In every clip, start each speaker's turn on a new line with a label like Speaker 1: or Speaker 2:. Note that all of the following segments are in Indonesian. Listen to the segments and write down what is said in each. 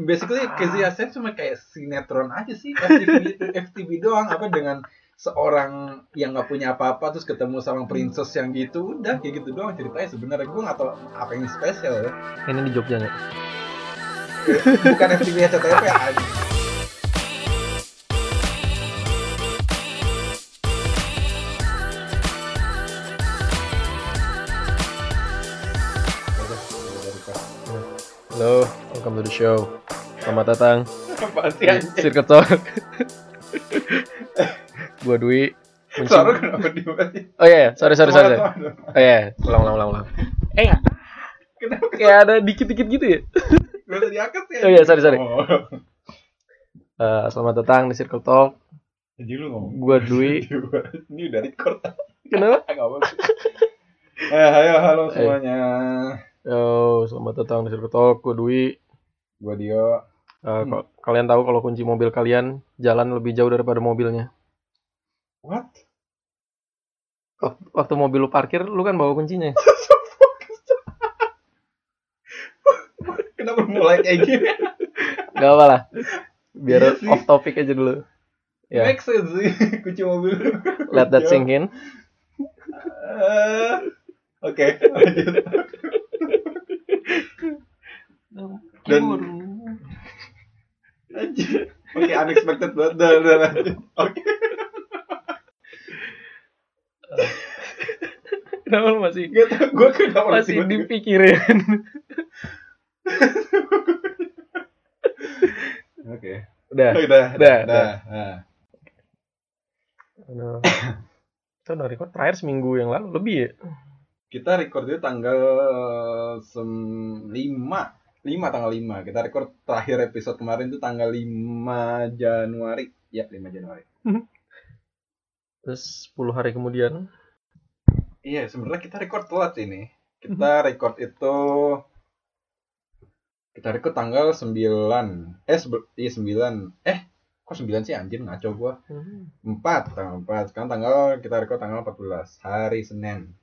Speaker 1: basically Casey Affleck cuma kayak sinetron aja sih FTV, FTV doang apa dengan seorang yang nggak punya apa-apa terus ketemu sama princess yang gitu udah kayak gitu doang ceritanya sebenarnya gue nggak tahu apa yang spesial ya
Speaker 2: Ini di Jogja nih.
Speaker 1: bukan FTV SCTV aja
Speaker 2: Halo, welcome to the show. Selamat datang
Speaker 1: Apaan sih
Speaker 2: di Circuit Talk. gua Dwi. Muncing.
Speaker 1: Suara kenapa dibalik?
Speaker 2: Oh iya, sorry sorry sorry. sorry.
Speaker 1: Suara-
Speaker 2: Oh iya, ulang ulang ulang ulang. Eh,
Speaker 1: Kenapa
Speaker 2: kayak ada dikit-dikit gitu ya.
Speaker 1: gak usah diangkat sih?
Speaker 2: Oh iya, sorry sorry.
Speaker 1: Oh.
Speaker 2: Eh, selamat datang di Circle Talk.
Speaker 1: Jadi lu ngomong
Speaker 2: Gua Dwi.
Speaker 1: Ini udah record
Speaker 2: Kenapa?
Speaker 1: Gak apa-apa Eh, ayo, halo semuanya
Speaker 2: Yo, selamat datang di Circle Talk. Gua Dwi.
Speaker 1: Gue Dio
Speaker 2: Eh, kok- kalian tahu kalau kunci mobil kalian jalan lebih jauh daripada mobilnya.
Speaker 1: What?
Speaker 2: Wak- Waktu mobil lu parkir, lu kan bawa kuncinya.
Speaker 1: Kenapa mulai kayak gini?
Speaker 2: Gak apa lah.
Speaker 1: Iya
Speaker 2: Biar
Speaker 1: sih.
Speaker 2: off topic aja dulu. Ya.
Speaker 1: Make sense sih Kunci mobil
Speaker 2: Let that sink in.
Speaker 1: Eh, Oke lanjut. Dan- Lanjut. Oke unexpected banget Udah, udah lanjut Oke
Speaker 2: Kenapa lu masih
Speaker 1: Gak tau gue kenapa
Speaker 2: masih
Speaker 1: tiba-tiba-
Speaker 2: dipikirin?
Speaker 1: Oke Oh,
Speaker 2: Udah.
Speaker 1: Udah, udah,
Speaker 2: Udah,
Speaker 1: udah Nah.
Speaker 2: udah. Itu udah record terakhir seminggu yang lalu lebih ya.
Speaker 1: kita record itu tanggal 5 5 tanggal 5 kita record terakhir episode kemarin itu tanggal 5 Januari ya 5 Januari
Speaker 2: Terus 10 hari kemudian.
Speaker 1: iya sebenarnya kita record telat sih ini kita record itu kita record tanggal 9 eh sebe- iya 9 eh kok 9 sih anjir ngaco gua
Speaker 2: Hmm.
Speaker 1: 4 tanggal 4 sekarang tanggal kita record tanggal 14 hari Senin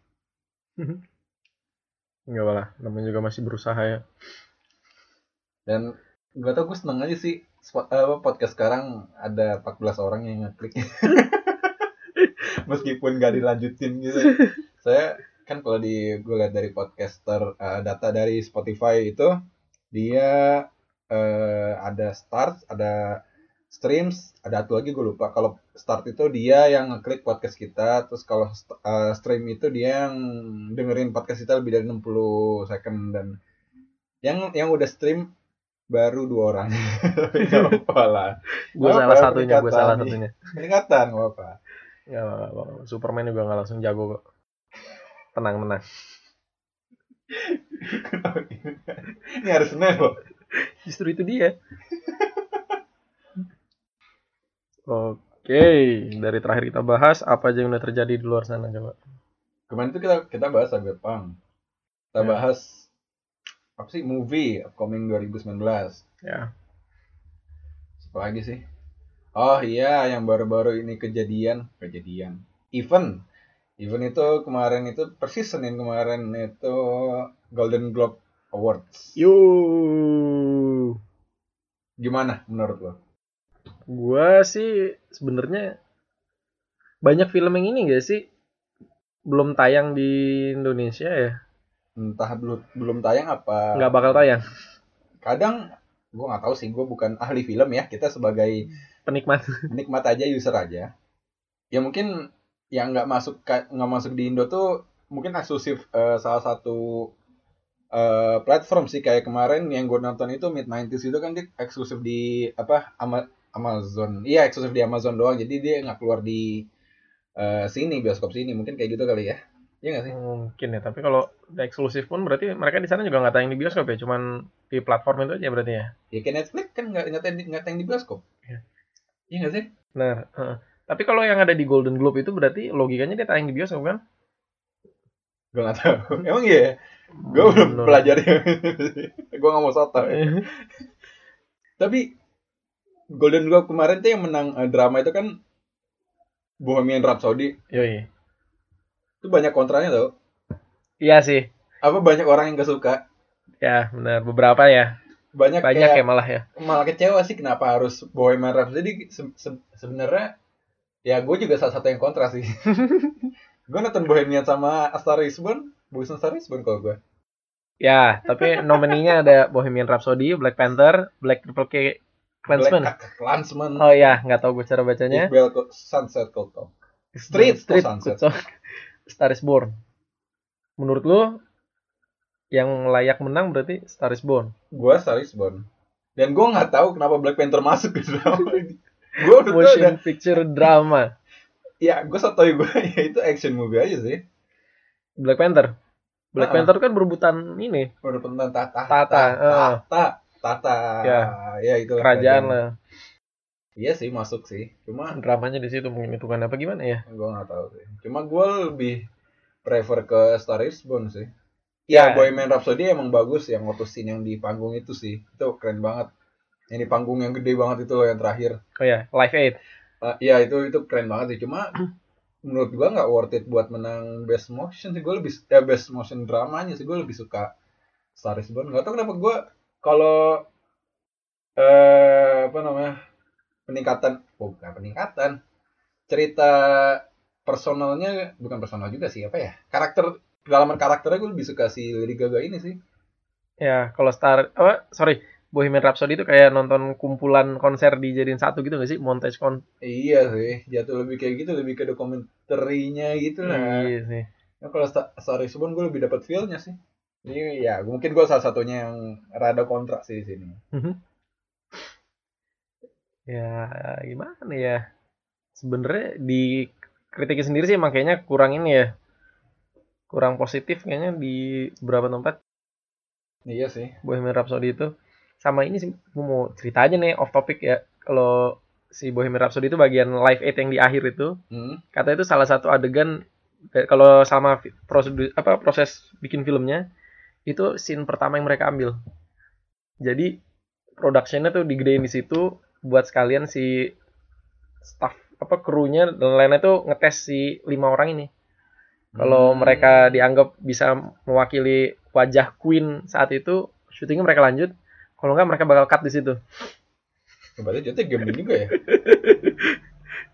Speaker 2: Enggak apa lah, namanya juga masih berusaha ya.
Speaker 1: dan gak tau gue seneng aja sih spo- eh, podcast sekarang ada 14 orang yang ngeklik meskipun gak dilanjutin gitu saya kan kalau di gue lihat dari podcaster eh, data dari Spotify itu dia eh, ada start ada streams ada satu lagi gue lupa kalau start itu dia yang ngeklik podcast kita terus kalau st- eh, stream itu dia yang dengerin podcast kita lebih dari 60 second dan yang yang udah stream baru dua orang Gak apa lah
Speaker 2: Gue
Speaker 1: Apa
Speaker 2: salah satunya, gue
Speaker 1: peningkatan
Speaker 2: salah
Speaker 1: nih?
Speaker 2: satunya.
Speaker 1: peningkatan gak apa
Speaker 2: Ya, Superman juga nggak langsung jago kok. Tenang, tenang.
Speaker 1: ini harus Senin loh
Speaker 2: Justru itu dia. Oke, dari terakhir kita bahas apa aja yang udah terjadi di luar sana coba.
Speaker 1: kemarin itu kita kita bahas cyberpunk kita
Speaker 2: Ya.
Speaker 1: bahas apa sih movie upcoming 2019
Speaker 2: Ya,
Speaker 1: apa lagi sih oh iya yang baru-baru ini kejadian kejadian event event itu kemarin itu persis Senin kemarin itu Golden Globe Awards
Speaker 2: yo,
Speaker 1: gimana menurut lo
Speaker 2: gua sih sebenarnya banyak film yang ini gak sih belum tayang di Indonesia ya,
Speaker 1: entah belum belum tayang apa
Speaker 2: nggak bakal tayang.
Speaker 1: kadang gue nggak tahu sih gue bukan ahli film ya kita sebagai
Speaker 2: Penikmat.
Speaker 1: penikmat aja user aja ya mungkin yang nggak masuk ka- nggak masuk di Indo tuh mungkin eksklusif eh, salah satu eh, platform sih kayak kemarin yang gue nonton itu mid 90s itu kan dia eksklusif di apa Ama- Amazon iya eksklusif di Amazon doang jadi dia nggak keluar di eh, sini bioskop sini mungkin kayak gitu kali ya Iya nggak sih
Speaker 2: Mungkin ya, tapi kalau eksklusif pun berarti mereka di sana juga nggak tayang di bioskop ya, cuman di platform itu aja berarti ya.
Speaker 1: ya kayak Netflix kan nggak nggak tayang di- nggak tayang di bioskop
Speaker 2: Iya.
Speaker 1: iya nggak sih
Speaker 2: Nah, heeh. tapi kalau yang ada di Golden Globe itu berarti logikanya dia tayang di bioskop kan?
Speaker 1: gue nggak tahu emang iya ya? gue belum
Speaker 2: Belum.
Speaker 1: pelajari gue nggak mau soto tapi Golden Globe kemarin tuh yang menang eh, drama itu kan Bohemian Rhapsody
Speaker 2: Yoi.
Speaker 1: itu banyak kontranya tau
Speaker 2: Iya sih.
Speaker 1: apa banyak orang yang gak suka
Speaker 2: Ya, benar beberapa ya.
Speaker 1: banyak,
Speaker 2: banyak
Speaker 1: kayak-
Speaker 2: ya malah ya
Speaker 1: malah kecewa sih kenapa harus Bohemian Rhapsody se- se- sebenarnya ya gue juga salah satu yang kontra sih gue nonton Bohemian sama A Star Is Born Bukan Star Is Born kalau gue
Speaker 2: ya tapi nomininya ada Bohemian Rhapsody Black Panther Black Triple K Clansman
Speaker 1: Black Hawk Klansman
Speaker 2: oh iya. ya nggak tahu gue cara bacanya
Speaker 1: Bell Sunset Cold Talk Street to
Speaker 2: Street
Speaker 1: Sunset.
Speaker 2: Good Song, Star is Born menurut lu yang layak menang berarti Star is Born
Speaker 1: gue Star Is Born dan gue nggak tahu kenapa Black Panther masuk ke drama ini gue udah gua udah
Speaker 2: motion picture drama
Speaker 1: ya gue sotoi gue ya itu action movie aja sih
Speaker 2: Black Panther Black
Speaker 1: Ah.
Speaker 2: Panther kan berebutan ini
Speaker 1: udah tentang tata
Speaker 2: Tata, eh.
Speaker 1: tata tata
Speaker 2: Ya.
Speaker 1: ya itu
Speaker 2: kerajaan lah
Speaker 1: iya sih masuk sih cuma
Speaker 2: dramanya di situ mungkin hitungan apa gimana ya
Speaker 1: gue nggak tahu sih cuma gue lebih prefer ke Star Is Born sih ya
Speaker 2: Ya.
Speaker 1: Bohemian Rhapsody emang bagus yang waktu scene yang di panggung itu sih itu keren banget yang di panggung yang gede banget itu loh yang terakhir
Speaker 2: oh ya Live Aid
Speaker 1: Eh, ya itu itu keren banget sih cuma menurut gue nggak worth it buat menang best motion sih gue lebih ya best motion dramanya sih gue lebih suka Star Is Born nggak tau kenapa gue kalau eh apa namanya peningkatan oh, bukan peningkatan cerita personalnya bukan personal juga sih apa ya karakter kedalaman karakternya gue lebih suka si Lady Gaga ini sih
Speaker 2: ya kalau Star apa sorry Bohemian Rhapsody itu kayak nonton kumpulan konser dijadiin satu gitu gak sih montage kon
Speaker 1: iya sih jatuh lebih kayak gitu lebih ke dokumenterinya gitu lah
Speaker 2: iya sih
Speaker 1: Ya, kalau Sta- Star Is Born gue lebih dapat feel-nya sih. Jadi ya mungkin gue salah satunya yang rada kontrak sih di sini.
Speaker 2: Mhm. ya gimana ya sebenarnya di kritiki sendiri sih emang kayaknya kurang ini ya kurang positif kayaknya di beberapa tempat
Speaker 1: Iya sih.
Speaker 2: Bohemian Rhapsody itu sama ini sih gue mau cerita aja nih off topic ya kalau si Bohemian Rhapsody itu bagian live aid yang di akhir itu
Speaker 1: Hmm.
Speaker 2: kata itu salah satu adegan eh, kalau sama fi- prosedur apa proses bikin filmnya itu scene pertama yang mereka ambil jadi productionnya tuh digedein di situ buat sekalian si staff apa krunya dan lainnya tuh ngetes si lima orang ini kalau
Speaker 1: Hmm.
Speaker 2: mereka dianggap bisa mewakili wajah Queen saat itu syutingnya mereka lanjut kalau nggak mereka bakal cut di situ
Speaker 1: Ya, berarti jatuh gambling juga ya.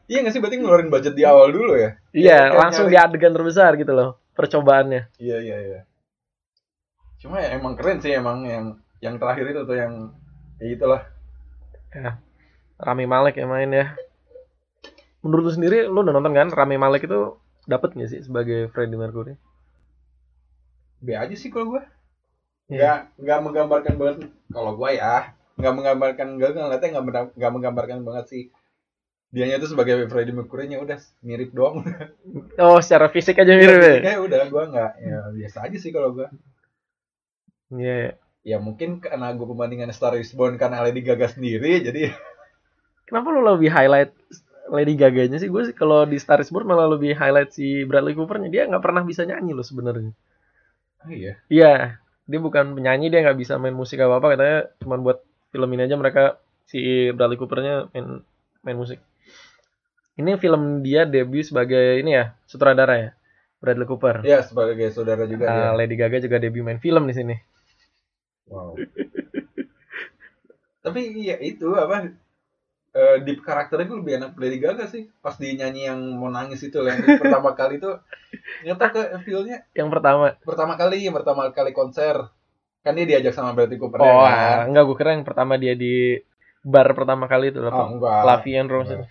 Speaker 1: iya nggak sih berarti ngeluarin budget di awal dulu ya?
Speaker 2: iya
Speaker 1: mereka
Speaker 2: langsung di
Speaker 1: nyari-
Speaker 2: adegan terbesar gitu loh percobaannya
Speaker 1: Iya iya iya. Cuma ya, emang keren sih emang yang yang terakhir itu tuh yang ya itulah.
Speaker 2: Rami Malek yang main ya. Menurut lu sendiri, lu udah nonton kan Rami Malek itu dapat nggak sih sebagai Freddie Mercury?
Speaker 1: B aja sih kalau gue.
Speaker 2: Iya.
Speaker 1: Nggak nggak menggambarkan banget kalau gue ya nggak menggambarkan nggak ngeliatnya nggak mendam- nggak menggambarkan banget sih dianya itu sebagai Freddie Mercury nya udah mirip doang
Speaker 2: Oh, secara fisik aja mirip ya.
Speaker 1: Iya, udah gua nggak ya biasa aja sih kalau gua.
Speaker 2: Iya. iya.
Speaker 1: Ya mungkin karena gua perbandingan Star Is Born karena Lady Gaga sendiri jadi
Speaker 2: Kenapa lu lebih highlight Lady Gaga-nya sih? Gue sih kalau di Star Is Born malah lebih highlight si Bradley Cooper-nya. Dia nggak pernah bisa nyanyi loh sebenarnya.
Speaker 1: oh, iya.
Speaker 2: Iya. Dia bukan penyanyi, dia nggak bisa main musik apa apa. Katanya cuma buat film ini aja mereka si Bradley Cooper-nya main main musik. Ini film dia debut sebagai ini ya sutradara ya Bradley Cooper.
Speaker 1: Ya sebagai saudara juga
Speaker 2: Nah,
Speaker 1: dia.
Speaker 2: Lady Gaga juga debut main film di sini.
Speaker 1: Wow. Tapi iya itu apa eh, di karakternya gue lebih enak Lady Gaga sih pas dia nyanyi yang mau nangis itu lah, yang pertama kali itu nyata ke feelnya
Speaker 2: Yang pertama.
Speaker 1: pertama kali pertama kali konser kan dia diajak sama Bradley Cooper ya
Speaker 2: Oh,
Speaker 1: kan?
Speaker 2: ah, enggak gue kira yang pertama dia di bar pertama kali itu
Speaker 1: oh
Speaker 2: apa?
Speaker 1: enggak
Speaker 2: Lavi and Rose. itu.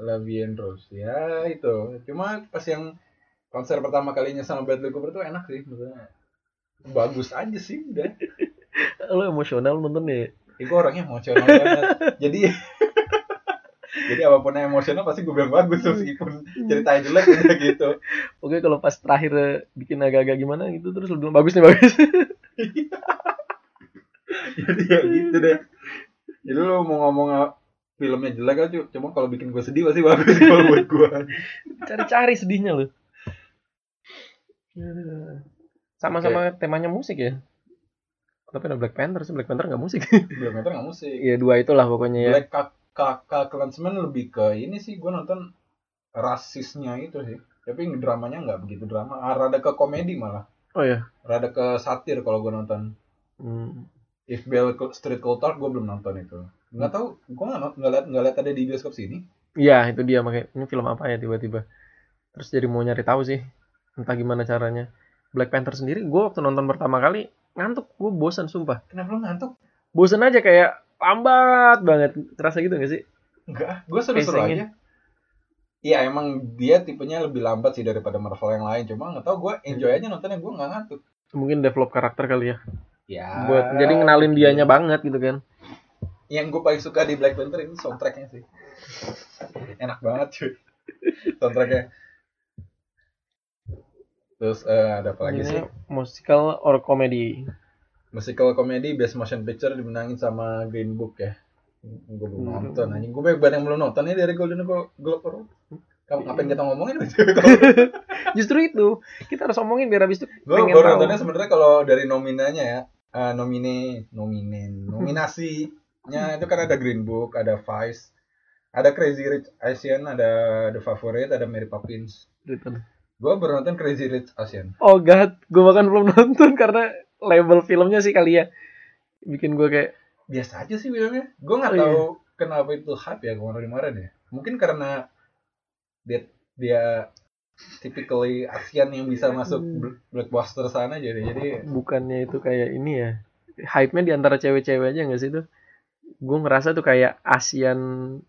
Speaker 1: Lavian Rose ya itu cuma pas yang konser pertama kalinya sama Bradley Cooper tuh enak sih maksudnya bagus aja sih udah
Speaker 2: Lu emosional nonton deh.
Speaker 1: ya, gue orangnya emosional banget jadi jadi apapun yang emosional pasti gue bilang bagus meskipun ceritanya jelek udah gitu
Speaker 2: Oke, kalau pas terakhir eh, bikin agak-agak gimana gitu terus lu bilang bagus nih bagus.
Speaker 1: jadi ya gitu deh jadi lo mau ngomong ah, filmnya jelek aja cuma kalau bikin gue sedih pasti bagus kalau buat gue
Speaker 2: Cari-cari sedihnya lu. Sama-sama temanya musik ya. Tapi ada Black Panther sih, Black Panther nggak musik.
Speaker 1: belum itu nggak musik
Speaker 2: Iya dua itulah pokoknya ya.
Speaker 1: Black kakak Klansman lebih ke ini sih gue nonton rasisnya itu sih tapi dramanya nggak begitu drama ah, rada ke komedi malah
Speaker 2: Oh Hmm. ya.
Speaker 1: rada ke satir kalau gue nonton If Bell Street Cold Talk gue belum nonton itu. Nggak tahu, gue nggak nggak lihat nggak lihat ada di bioskop sini.
Speaker 2: Iya, itu dia makanya ini film apa ya tiba-tiba. Terus jadi mau nyari tahu sih entah gimana caranya. Black Panther sendiri gue waktu nonton pertama kali ngantuk, gue bosan sumpah.
Speaker 1: Kenapa lu ngantuk?
Speaker 2: Bosan aja kayak lambat banget. Terasa gitu gak sih?
Speaker 1: Enggak, gue seru-seru aja.
Speaker 2: Pacing-nya.
Speaker 1: Iya emang dia tipenya lebih lambat sih daripada Marvel yang lain. Cuma nggak tahu gue enjoy aja nontonnya gue nggak ngantuk.
Speaker 2: Mungkin develop karakter kali ya.
Speaker 1: Ya.
Speaker 2: Buat jadi ngenalin
Speaker 1: iya.
Speaker 2: dianya banget gitu kan.
Speaker 1: Yang gue paling suka di Black Panther itu soundtracknya sih. Enak banget cuy. Soundtracknya. Terus eh, ada apa lagi sih?
Speaker 2: Ini musical or comedy.
Speaker 1: Musical comedy Best Motion Picture dimenangin sama Green Book ya. Gue belum
Speaker 2: Hmm.
Speaker 1: nonton anjing. Gue banyak banget yang belum nonton ya dari Golden Glo- Globe Award. Kamu ngapain kita ngomongin?
Speaker 2: Justru itu kita harus omongin biar habis itu
Speaker 1: gue
Speaker 2: pengen
Speaker 1: baru
Speaker 2: tahu.
Speaker 1: nontonnya sebenarnya kalau dari nominanya ya eh, nomine nomine nominasinya itu kan ada Green Book ada Vice ada Crazy Rich Asian ada The Favorite ada Mary Poppins gue baru nonton Crazy Rich Asian
Speaker 2: Gitu. Oh god, gue bahkan belum nonton karena label filmnya sih kali ya bikin gue kayak
Speaker 1: biasa aja sih filmnya gue nggak
Speaker 2: Oh, iya.
Speaker 1: tahu kenapa itu hype ya kemarin-kemarin ya mungkin karena dia dia typically Asian yang bisa masuk
Speaker 2: Hmm.
Speaker 1: bl- blockbuster sana jadi jadi
Speaker 2: bukannya itu kayak ini ya hype-nya di antara cewek-cewek aja nggak sih tuh gue ngerasa tuh kayak Asian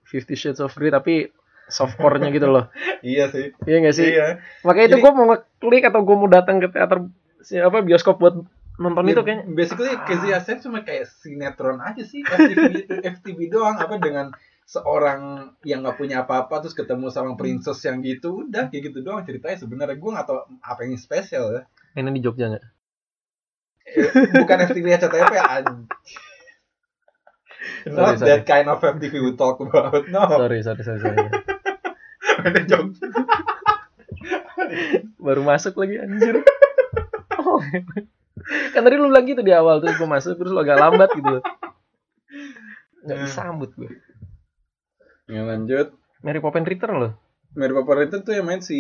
Speaker 2: Fifty Shades of Grey tapi softcore-nya gitu loh
Speaker 1: iya sih
Speaker 2: iya nggak sih
Speaker 1: iya
Speaker 2: makanya itu
Speaker 1: Jadi-
Speaker 2: gue mau ngeklik atau gue mau datang ke teater si- apa bioskop buat nonton
Speaker 1: Ya,
Speaker 2: itu kayaknya Ah.
Speaker 1: Basically Casey Affleck cuma kayak sinetron aja sih, FTV, FTV doang apa dengan seorang yang nggak punya apa-apa terus ketemu sama princess yang gitu udah kayak gitu doang ceritanya sebenarnya gue nggak tahu apa yang spesial ya
Speaker 2: mainnya di Jogja nggak
Speaker 1: Eh, bukan FTV CTP an-
Speaker 2: Sorry,
Speaker 1: ya, not
Speaker 2: sorry.
Speaker 1: that kind of FTV we talk about no
Speaker 2: sorry sorry sorry, sorry.
Speaker 1: ada jok
Speaker 2: baru masuk lagi anjir oh. kan tadi lu bilang gitu di awal terus gue masuk terus lu agak lambat gitu nggak
Speaker 1: Hmm.
Speaker 2: disambut gue
Speaker 1: yang Ya, lanjut
Speaker 2: Mary Poppins Return loh
Speaker 1: Mary Poppins itu tuh yang main si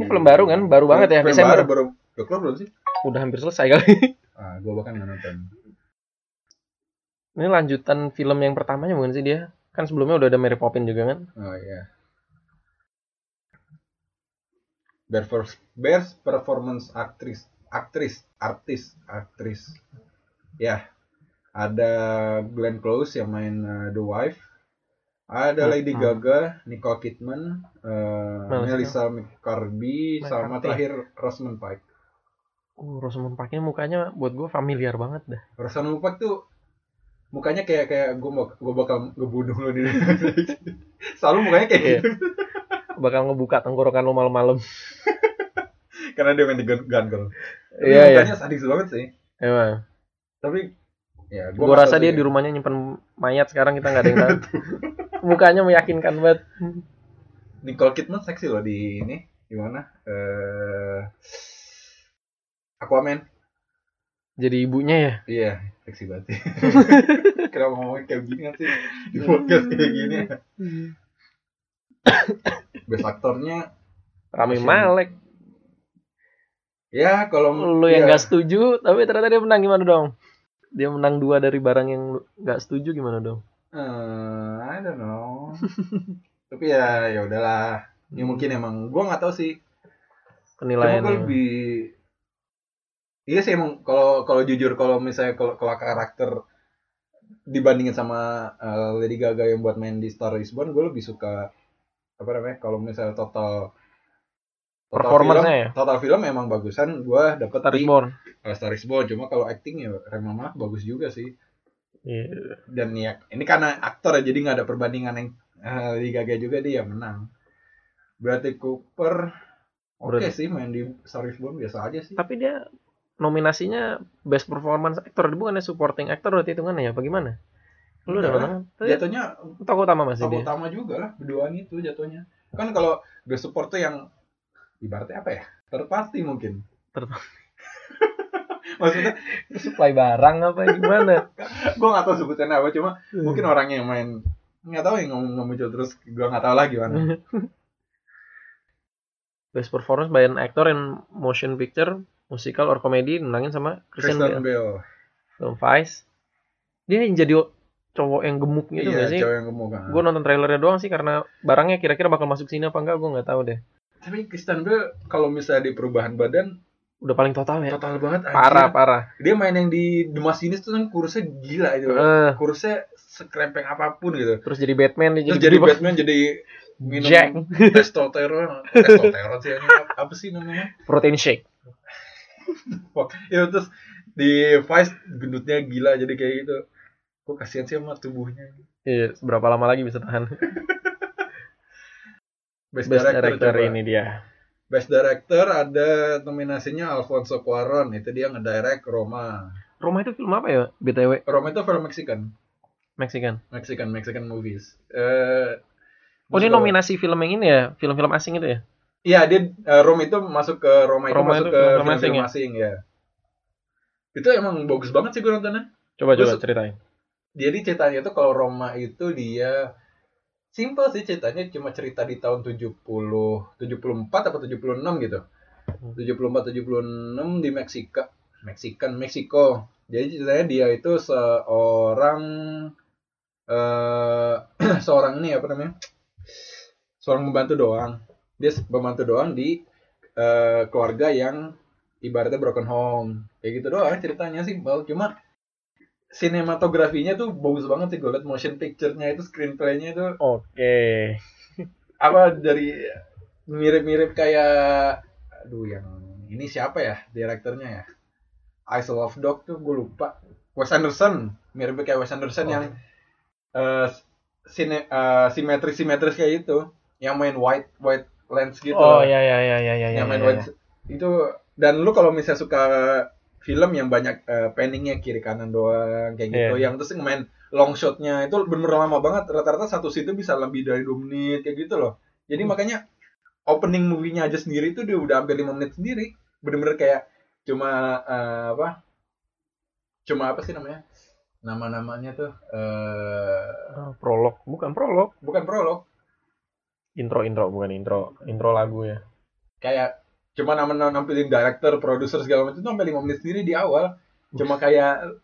Speaker 2: Ini film baru kan? Baru banget ya,
Speaker 1: film
Speaker 2: Desember.
Speaker 1: baru, baru Udah keluar belum sih
Speaker 2: udah hampir selesai kali
Speaker 1: ah gue bahkan nggak nonton
Speaker 2: ini lanjutan film yang pertamanya bukan sih dia kan sebelumnya udah ada Mary Poppins juga kan
Speaker 1: Oh iya. Best, per- best performance aktris, aktris, artis, aktris. Ya, ada Glenn Close yang main uh, The Wife. Ada
Speaker 2: Hmm,
Speaker 1: Lady
Speaker 2: hmm.
Speaker 1: Gaga, Nicole Kidman, uh,
Speaker 2: Melissa.
Speaker 1: Melissa McCarthy, sama
Speaker 2: McCarthy.
Speaker 1: terakhir Rosamund Pike.
Speaker 2: uh Rosamund Pike-nya mukanya buat gue familiar banget dah
Speaker 1: Rosamund Pike tuh mukanya kayak kayak gue gue bakal ngebunuh lo di Selalu mukanya kayak
Speaker 2: Iya.
Speaker 1: gitu
Speaker 2: bakal ngebuka tenggorokan lu malam-malam
Speaker 1: karena dia main di Gun Gun Girl. Tapi
Speaker 2: iya iya
Speaker 1: mukanya sadis banget sih.
Speaker 2: emang
Speaker 1: tapi ya
Speaker 2: gue Iya. rasa dia di rumahnya nyimpen mayat sekarang kita nggak ada yang tahu mukanya meyakinkan banget
Speaker 1: Nicole Kidman seksi loh di ini di mana eh Aquaman
Speaker 2: jadi ibunya ya
Speaker 1: iya seksi banget sih. kenapa ngomongin kayak gini kan sih di podcast kayak gini best aktornya
Speaker 2: Rami
Speaker 1: Masih-
Speaker 2: Malek
Speaker 1: ya kalau
Speaker 2: lu
Speaker 1: ya,
Speaker 2: yang nggak setuju tapi ternyata dia menang gimana dong dia menang dua dari barang yang lu nggak setuju gimana dong
Speaker 1: eh, I don't know tapi ya ya udahlah ya mungkin
Speaker 2: Hmm.
Speaker 1: emang gua nggak tahu sih Cuma gue
Speaker 2: penilaiannya
Speaker 1: lebih Iya sih emang kalau kalau jujur kalau misalnya kalau kalau karakter dibandingin sama eh, Lady Gaga yang buat main di Star Is Born, gue lebih suka apa namanya kalau misalnya total total
Speaker 2: Performance-nya
Speaker 1: film,
Speaker 2: ya?
Speaker 1: total film emang bagusan gue dapet
Speaker 2: Star
Speaker 1: di
Speaker 2: is Born
Speaker 1: eh, Star Is Born. Cuma kalau acting ya Rema Malek bagus juga sih.
Speaker 2: Iya.
Speaker 1: Dan ya ini karena aktor ya jadi nggak ada perbandingan yang eh, Lady Gaga juga dia yang menang. Berarti Cooper oke
Speaker 2: Berarti-
Speaker 1: sih main di Star Is Born biasa aja sih.
Speaker 2: tapi dia nominasinya best performance actor bukannya supporting actor berarti hitungannya ya apa gimana lu udah
Speaker 1: Enggak
Speaker 2: menang tapi
Speaker 1: jatuhnya
Speaker 2: tokoh utama masih
Speaker 1: tokoh
Speaker 2: dia
Speaker 1: utama juga lah berduaan itu jatuhnya kan kalau best support tuh yang ibaratnya apa ya third party mungkin
Speaker 2: Third
Speaker 1: maksudnya
Speaker 2: supply barang apa ya, gimana
Speaker 1: gue nggak tahu sebutannya apa cuma mungkin orangnya yang main nggak tahu yang ngomong ngomong muncul terus gue nggak tahu lah
Speaker 2: Hmm.
Speaker 1: gimana
Speaker 2: best performance by an actor in motion picture musical or comedy menangin sama Christian
Speaker 1: Kristen
Speaker 2: Bale
Speaker 1: Bell
Speaker 2: film Vice dia yang jadi cowok yang gemuk gitu
Speaker 1: iya,
Speaker 2: nggak sih
Speaker 1: cewek yang gemuk. ah.
Speaker 2: gue nonton trailernya doang sih karena barangnya kira-kira bakal masuk sini apa enggak gue nggak tahu deh
Speaker 1: Tapi Kristen Bell kalau misalnya di perubahan badan
Speaker 2: udah paling total ya
Speaker 1: total banget. anjir.
Speaker 2: parah parah
Speaker 1: Dia main yang di The Machinist tuh kan kurusnya gila itu.
Speaker 2: Eh,
Speaker 1: Kurusnya sekrempeng apapun gitu.
Speaker 2: terus jadi Batman dia
Speaker 1: Terus jadi
Speaker 2: apa?
Speaker 1: Batman jadi minum
Speaker 2: Jack
Speaker 1: testosteron, testosteron sih anjing. apa sih namanya?
Speaker 2: protein shake
Speaker 1: Fuck. Ya terus di Vice gendutnya gila jadi kayak gitu. Kok kasihan sih sama tubuhnya.
Speaker 2: Iya, berapa lama lagi bisa tahan
Speaker 1: Best,
Speaker 2: best
Speaker 1: director,
Speaker 2: director
Speaker 1: coba.
Speaker 2: ini dia
Speaker 1: Best director ada nominasinya Alfonso Cuarón, itu dia ngedirect Roma.
Speaker 2: Roma itu film apa ya btw
Speaker 1: Roma itu film kan? Mexican,
Speaker 2: Mexican
Speaker 1: Mexican Mexican movies. Eh
Speaker 2: oh
Speaker 1: masuk
Speaker 2: ini
Speaker 1: ke-
Speaker 2: nominasi film yang ini ya film-film asing itu ya
Speaker 1: Iya, dia eh, Roma itu masuk ke Roma itu
Speaker 2: Roma
Speaker 1: masuk
Speaker 2: itu
Speaker 1: ke
Speaker 2: film
Speaker 1: film
Speaker 2: asing ya?
Speaker 1: asing ya. Itu emang bagus banget sih gue nontonnya.
Speaker 2: coba
Speaker 1: Terus-
Speaker 2: coba ceritain
Speaker 1: jadi ceritanya tuh kalau Roma itu dia simple sih ceritanya cuma cerita di tahun 70 74 apa 76 gitu 74 76 di Meksika Meksikan Meksiko jadi ceritanya dia itu seorang eh seorang ini apa namanya seorang pembantu doang dia se- pembantu doang di eh, keluarga yang ibaratnya broken home kayak gitu doang ceritanya simpel cuma sinematografinya tuh bagus banget sih gue liat motion picture-nya itu screenplay-nya itu
Speaker 2: oke
Speaker 1: apa dari mirip-mirip kayak aduh yang ini siapa ya direkturnya ya Eyes of Dog tuh gue lupa Wes Anderson mirip kayak Wes Anderson
Speaker 2: Oh.
Speaker 1: yang eh, sine eh, simetris-simetris kayak itu yang main white white lens gitu loh.
Speaker 2: oh ya ya ya ya ya ya,
Speaker 1: yang main
Speaker 2: ya,
Speaker 1: white
Speaker 2: ya.
Speaker 1: Iya, itu dan lu kalau misalnya suka film yang banyak eh, panningnya kiri kanan doang kayak gitu
Speaker 2: Iya.
Speaker 1: yang terus main long shotnya itu bener lama banget rata-rata satu situ bisa lebih dari dua menit kayak gitu loh jadi
Speaker 2: Hmm.
Speaker 1: makanya opening movie-nya aja sendiri itu dia udah hampir lima menit sendiri bener-bener kayak cuma eh, apa cuma apa sih namanya nama-namanya tuh eh
Speaker 2: Ah, prolog bukan prolog
Speaker 1: bukan prolog
Speaker 2: intro intro bukan intro intro lagu ya
Speaker 1: kayak cuma nama nampilin director, produser segala macam itu sampai lima menit sendiri di awal. Cuma kayak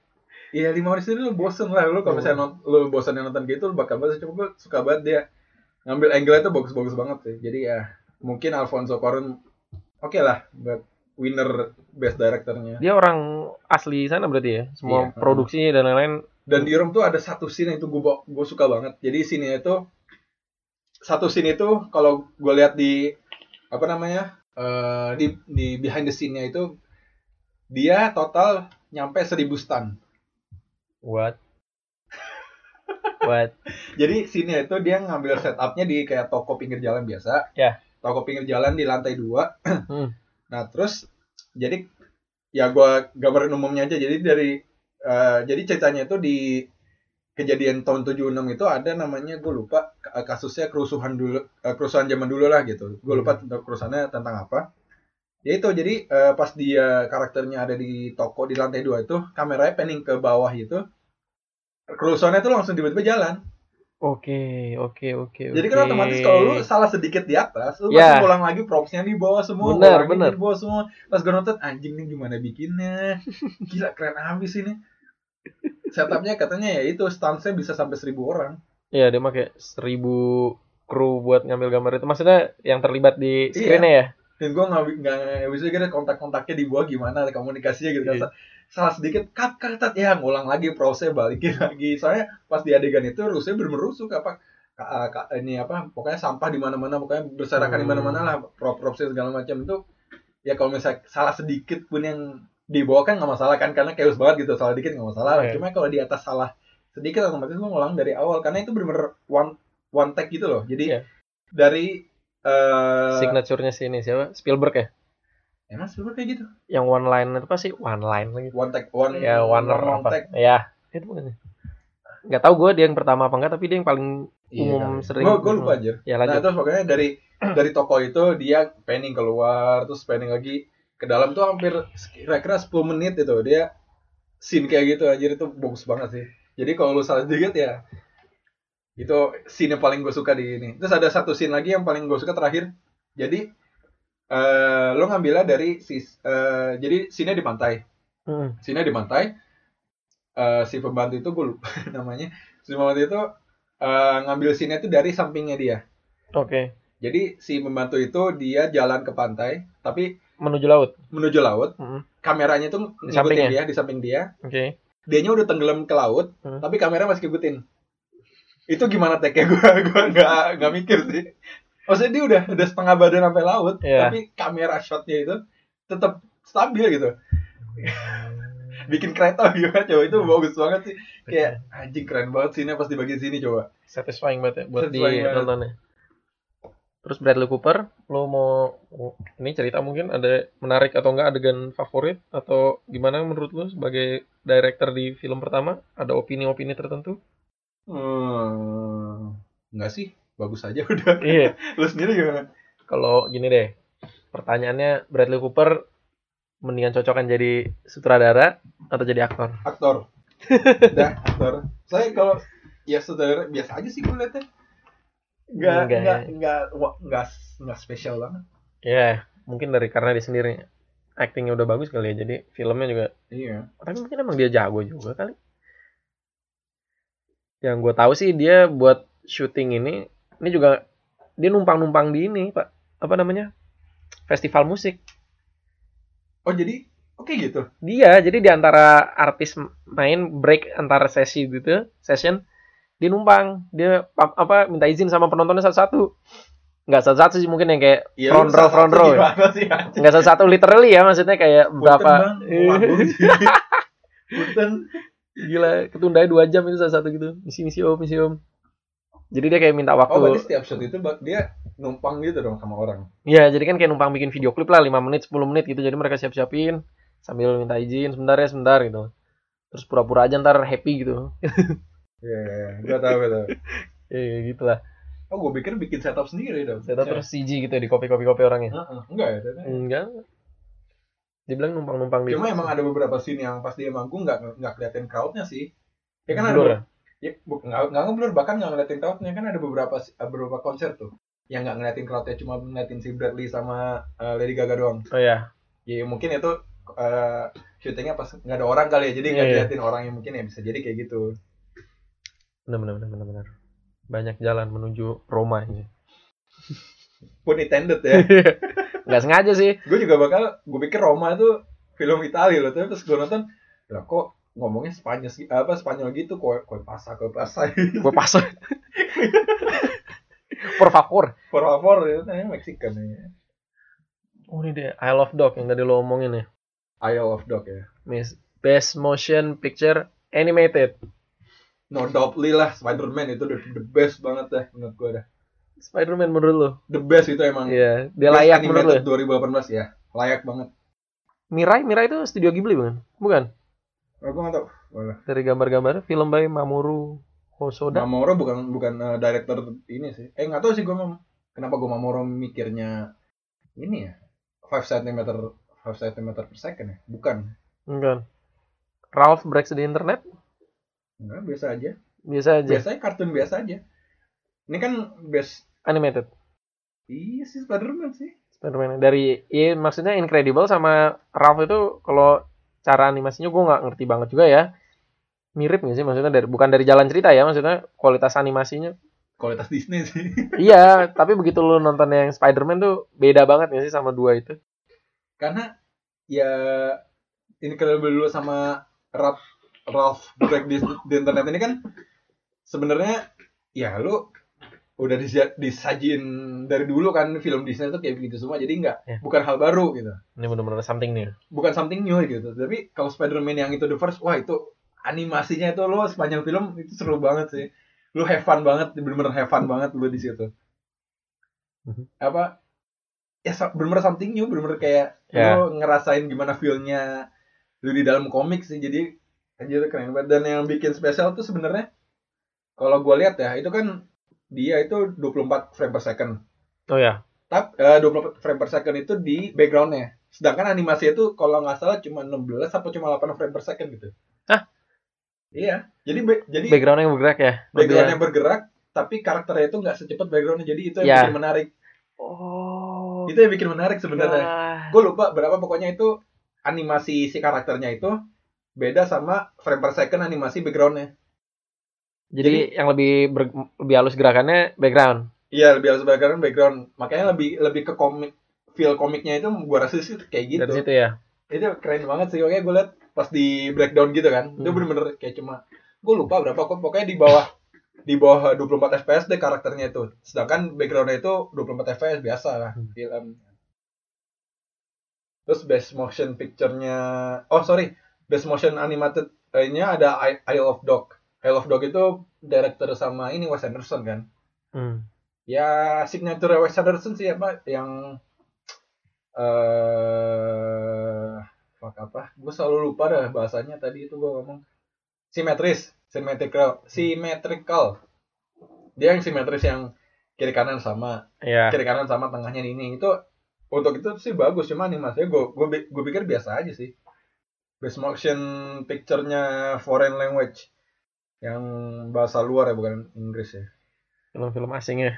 Speaker 1: ya lima menit sendiri lu bosen lah lu kalau misalnya non- lu bosan yang nonton gitu lu bakal bosen cuma gue suka banget dia ngambil angle itu bagus-bagus banget sih. Jadi ya mungkin Alfonso Cuarón oke lah buat winner best directornya.
Speaker 2: dia orang asli sana berarti ya
Speaker 1: Iya.
Speaker 2: semua produksinya dan lain-lain
Speaker 1: Dan di Rome tuh ada satu scene yang itu gue gue suka banget. Jadi scene itu satu scene itu kalau gue lihat di apa namanya eh, di di behind the scene-nya itu dia total nyampe 1000 stand.
Speaker 2: what what
Speaker 1: Jadi scene-nya itu dia ngambil setupnya di kayak toko pinggir jalan biasa.
Speaker 2: Ya.
Speaker 1: Toko pinggir jalan di lantai dua.
Speaker 2: Hmm.
Speaker 1: Nah terus jadi ya gue gambarin umumnya aja. Jadi dari eh, jadi ceritanya itu di kejadian tahun 76 itu ada namanya gue lupa eh, kasusnya kerusuhan dulu eh, kerusuhan zaman dulu lah gitu. Gue lupa tentang kerusuhannya tentang apa. Ya itu jadi eh, pas dia karakternya ada di toko di lantai dua itu kameranya panning ke bawah itu kerusuhannya itu langsung tiba-tiba jalan.
Speaker 2: oke oke oke
Speaker 1: Jadi kan
Speaker 2: oke.
Speaker 1: otomatis kalau lu salah sedikit di atas, lu
Speaker 2: Ya.
Speaker 1: pasti pulang lagi propsnya di bawah semua,
Speaker 2: Benar,
Speaker 1: ulangin
Speaker 2: benar.
Speaker 1: di bawah semua. Pas gue nonton anjing nih gimana bikinnya, gila keren abis ini. Setupnya katanya ya itu stance bisa sampai seribu orang.
Speaker 2: Iya, dia pakai seribu kru buat ngambil gambar itu. Maksudnya yang terlibat di
Speaker 1: Iya.
Speaker 2: screen-nya ya?
Speaker 1: Dan gue nggak nggak nggak bisa kira kontak-kontaknya di bawah gimana, ada komunikasinya gitu kan.
Speaker 2: Iya.
Speaker 1: Salah sedikit, cut, cut, cut. ya ngulang lagi prosesnya balikin
Speaker 2: Iya.
Speaker 1: lagi. Soalnya pas di adegan itu rusnya bener-bener rusuk apa ka- ka- ini apa pokoknya sampah di mana-mana pokoknya berserakan di
Speaker 2: Hmm.
Speaker 1: mana-mana lah prop propsnya segala macam itu ya kalau misalnya salah sedikit pun yang dibawa kan nggak masalah kan karena chaos banget gitu salah dikit nggak masalah lah.
Speaker 2: Iya.
Speaker 1: cuma kalau di atas salah sedikit otomatis gue ngulang dari awal karena itu bener-bener one one take gitu loh jadi
Speaker 2: Iya.
Speaker 1: dari eh,
Speaker 2: Signaturenya si ini siapa? Spielberg ya?
Speaker 1: emang sebenarnya kayak gitu
Speaker 2: Yang one line itu pasti one line lagi.
Speaker 1: one take one
Speaker 2: Ya, one,
Speaker 1: long
Speaker 2: apa?
Speaker 1: take
Speaker 2: Ya, itu bukan. Nggak tahu gue dia yang pertama apa enggak, tapi dia yang paling
Speaker 1: Iya
Speaker 2: umum sering.
Speaker 1: gue kan? lupa aja
Speaker 2: Ya
Speaker 1: nah
Speaker 2: lanjut.
Speaker 1: terus pokoknya dari dari toko itu dia panning keluar terus panning lagi ke dalam tuh hampir kira-kira 10 menit itu dia scene kayak gitu anjir itu bagus banget sih jadi kalau lu salah sedikit ya itu scene yang paling gue suka di ini terus ada satu scene lagi yang paling gue suka terakhir jadi eh lo ngambilnya dari sis eh, jadi scene di pantai
Speaker 2: Hmm.
Speaker 1: sini di pantai eh, si pembantu itu gue lupa namanya si pembantu itu eh, ngambil scene itu dari sampingnya dia
Speaker 2: Oke,
Speaker 1: jadi si pembantu itu dia jalan ke pantai tapi
Speaker 2: menuju laut.
Speaker 1: menuju laut
Speaker 2: Mm,
Speaker 1: kameranya tuh
Speaker 2: Di
Speaker 1: ngikutin
Speaker 2: ya? sampingnya.
Speaker 1: dia di samping dia
Speaker 2: Oke.
Speaker 1: dianya udah tenggelam ke laut
Speaker 2: Hmm.
Speaker 1: tapi kamera masih ngikutin itu gimana take-nya gue gue nggak nggak mikir sih maksudnya dia udah udah setengah badan sampai laut
Speaker 2: Iya.
Speaker 1: tapi kamera shotnya itu tetap stabil gitu bikin kereta juga coba itu bagus banget sih kayak anjing keren banget sih ini pas di bagian sini coba
Speaker 2: satisfying banget ya buat di
Speaker 1: Satisfying banget.
Speaker 2: nontonnya. Terus Bradley Cooper, lo mau oh, ini cerita mungkin ada menarik atau enggak adegan favorit atau gimana menurut lo sebagai director di film pertama? Ada opini-opini tertentu?
Speaker 1: hmm, nggak sih bagus aja udah
Speaker 2: Iya.
Speaker 1: lu sendiri gimana
Speaker 2: Kalau gini deh, pertanyaannya Bradley Cooper mendingan cocokan jadi sutradara atau jadi aktor?
Speaker 1: aktor udah aktor saya kalau ya saudara biasa aja sih gue liatnya nggak
Speaker 2: Enggak
Speaker 1: nggak
Speaker 2: ya.
Speaker 1: nggak wah, nggak nggak spesial banget
Speaker 2: Ya, mungkin dari karena dia sendiri actingnya udah bagus kali ya, jadi filmnya juga
Speaker 1: iya
Speaker 2: tapi mungkin emang dia jago juga kali yang gue tahu sih dia buat syuting ini ini juga dia numpang numpang di ini pak apa namanya festival musik
Speaker 1: oh jadi oke gitu
Speaker 2: dia jadi di antara artis main break antara sesi gitu session dia numpang dia pa- apa minta izin sama penontonnya satu-satu nggak satu-satu sih mungkin yang kayak
Speaker 1: Iya, lu
Speaker 2: Front row,
Speaker 1: satu-satu
Speaker 2: front row ya?
Speaker 1: gimana sih anjing?
Speaker 2: nggak satu-satu literally ya maksudnya kayak berapa
Speaker 1: Punten, Bang. Wah, bagus. Punten.
Speaker 2: gila ketundanya dua jam itu satu-satu gitu misi misi om misi om jadi dia kayak minta waktu
Speaker 1: oh berarti setiap shot itu ba- dia numpang gitu dong sama orang
Speaker 2: Ya, jadi kan kayak numpang bikin video klip lah 5 menit, 10 menit gitu. Jadi mereka siap-siapin sambil minta izin sebentar ya, sebentar gitu. Terus pura-pura aja ntar happy gitu.
Speaker 1: iya iya iya. gua tahu gua tahu
Speaker 2: Ya, ya gitu lah.
Speaker 1: oh gue pikir bikin setup sendiri dong
Speaker 2: Saya terus CG gitu di kopi-kopi-kopi orangnya.
Speaker 1: Heeh, enggak ya ternyata.
Speaker 2: Enggak. Dibilang numpang-numpang di.
Speaker 1: cuma emang ada beberapa scene yang pas dia manggung nggak nggak kelihatan crowdnya sih ya kan ada
Speaker 2: Blur ya?
Speaker 1: ya bu- nggak nggak ngeblur bahkan nggak ngeliatin crowdnya kan ada beberapa beberapa konser tuh yang nggak ngeliatin crowdnya cuma ngeliatin si Bradley sama eh, Lady Gaga doang
Speaker 2: Oh ya.
Speaker 1: ya mungkin itu eh, syutingnya pas nggak ada orang kali ya jadi nggak
Speaker 2: Iya, iya.
Speaker 1: ngeliatin orang yang mungkin ya bisa jadi kayak gitu
Speaker 2: Benar benar benar benar benar. Banyak jalan menuju Roma ini.
Speaker 1: pun intended ya
Speaker 2: Enggak sengaja sih.
Speaker 1: gue juga bakal gue pikir Roma itu film Italia loh tapi terus gue nonton lah kok ngomongnya Spanyol sih- apa Spanyol gitu kue kue pasa kue pasa
Speaker 2: Gue pas. Por favor.
Speaker 1: por favor itu namanya Mexican ya
Speaker 2: Oh ini dia I Love Dog yang tadi lo omongin ya.
Speaker 1: Isle of Dog ya
Speaker 2: Miss Best Motion Picture Animated.
Speaker 1: no doubtly lah Spider-Man itu the, the best banget dah menurut gue dah
Speaker 2: Spider-Man menurut lo?
Speaker 1: the best itu emang
Speaker 2: Iya, dia layak
Speaker 1: Best
Speaker 2: menurut lo.
Speaker 1: animated 2018 ya layak banget
Speaker 2: Mirai, Mirai itu studio Ghibli bukan? Bukan.
Speaker 1: oh, gue nggak tahu Walah.
Speaker 2: Dari gambar-gambar film by Mamoru Hosoda.
Speaker 1: Mamoro bukan bukan eh, director ini sih eh nggak tahu sih gue mem- kenapa gue Mamoro mikirnya ini ya 5 cm 5 cm per second ya bukan
Speaker 2: Bukan. Ralph Breaks the Internet
Speaker 1: Enggak, Nah, biasa aja.
Speaker 2: biasa aja.
Speaker 1: Biasanya kartun biasa aja. Ini kan best
Speaker 2: Animated.
Speaker 1: Iya sih Spider-Man sih.
Speaker 2: Spider-Man dari iya maksudnya Incredible sama Ralph itu kalau cara animasinya gue nggak ngerti banget juga ya. Mirip nggak sih maksudnya dari bukan dari jalan cerita ya maksudnya kualitas animasinya.
Speaker 1: Kualitas Disney sih.
Speaker 2: iya, tapi begitu lu nonton yang Spider-Man tuh beda banget nggak sih sama dua itu?
Speaker 1: Karena ya ini kalau dulu sama Ralph Ralph Break di, di internet ini kan sebenarnya ya lu udah disia- disajin dari dulu kan film Disney tuh kayak begitu semua jadi nggak
Speaker 2: Ya.
Speaker 1: bukan hal baru gitu
Speaker 2: Ini benar-benar something new.
Speaker 1: bukan something new gitu tapi kalau Spider-Man yang itu the first wah itu animasinya itu lo sepanjang film itu seru banget sih lo have fun banget bener-bener have fun banget lo di situ
Speaker 2: Mhm.
Speaker 1: apa ya so- bener-bener something new bener-bener kayak
Speaker 2: Ya.
Speaker 1: lo ngerasain gimana feelnya lo di dalam komik sih jadi anjir keren banget dan yang bikin spesial tuh sebenarnya kalau gue lihat ya itu kan dia itu 24 frame per second
Speaker 2: Oh ya,
Speaker 1: Tap, eh, 24 frame per second itu di backgroundnya. Sedangkan animasi itu kalau nggak salah cuma 16 atau cuma 8 frame per second gitu.
Speaker 2: Hah?
Speaker 1: Iya. Jadi ba- jadi
Speaker 2: background yang bergerak ya.
Speaker 1: backgroundnya bergerak, tapi karakternya itu nggak secepat backgroundnya. Jadi itu yang
Speaker 2: Ya.
Speaker 1: bikin menarik.
Speaker 2: Oh.
Speaker 1: Itu yang
Speaker 2: Ya.
Speaker 1: bikin menarik sebenarnya. Gue lupa berapa pokoknya itu animasi si karakternya itu beda sama frame per second animasi backgroundnya
Speaker 2: Jadi, yang lebih ber- lebih halus gerakannya background.
Speaker 1: iya lebih harus background background makanya lebih lebih ke komik feel komiknya itu gua rasa sih kayak gitu
Speaker 2: Dari situ ya.
Speaker 1: itu keren banget sih makanya gue liat pas di breakdown gitu kan itu
Speaker 2: Hmm.
Speaker 1: bener-bener kayak cuma gue lupa berapa kok pokoknya di bawah di bawah 24 fps deh karakternya itu sedangkan backgroundnya itu 24 fps biasa lah
Speaker 2: Hmm.
Speaker 1: film terus best motion picture-nya oh sorry best motion animated nya ada I- Isle of Dog Isle of Dog itu director sama ini Wes Anderson kan
Speaker 2: Hmm.
Speaker 1: ya signature Wes Anderson sih apa yang eh fuck apa gue selalu lupa dah bahasanya tadi itu gue ngomong simetris symmetrical symmetrical dia yang simetris yang kiri kanan sama
Speaker 2: Ya.
Speaker 1: kiri kanan sama tengahnya ini itu untuk itu sih bagus cuma animasinya gue gue gue pikir biasa aja sih best motion picture-nya foreign language yang bahasa luar ya bukan Inggris ya
Speaker 2: Film-film asing ya.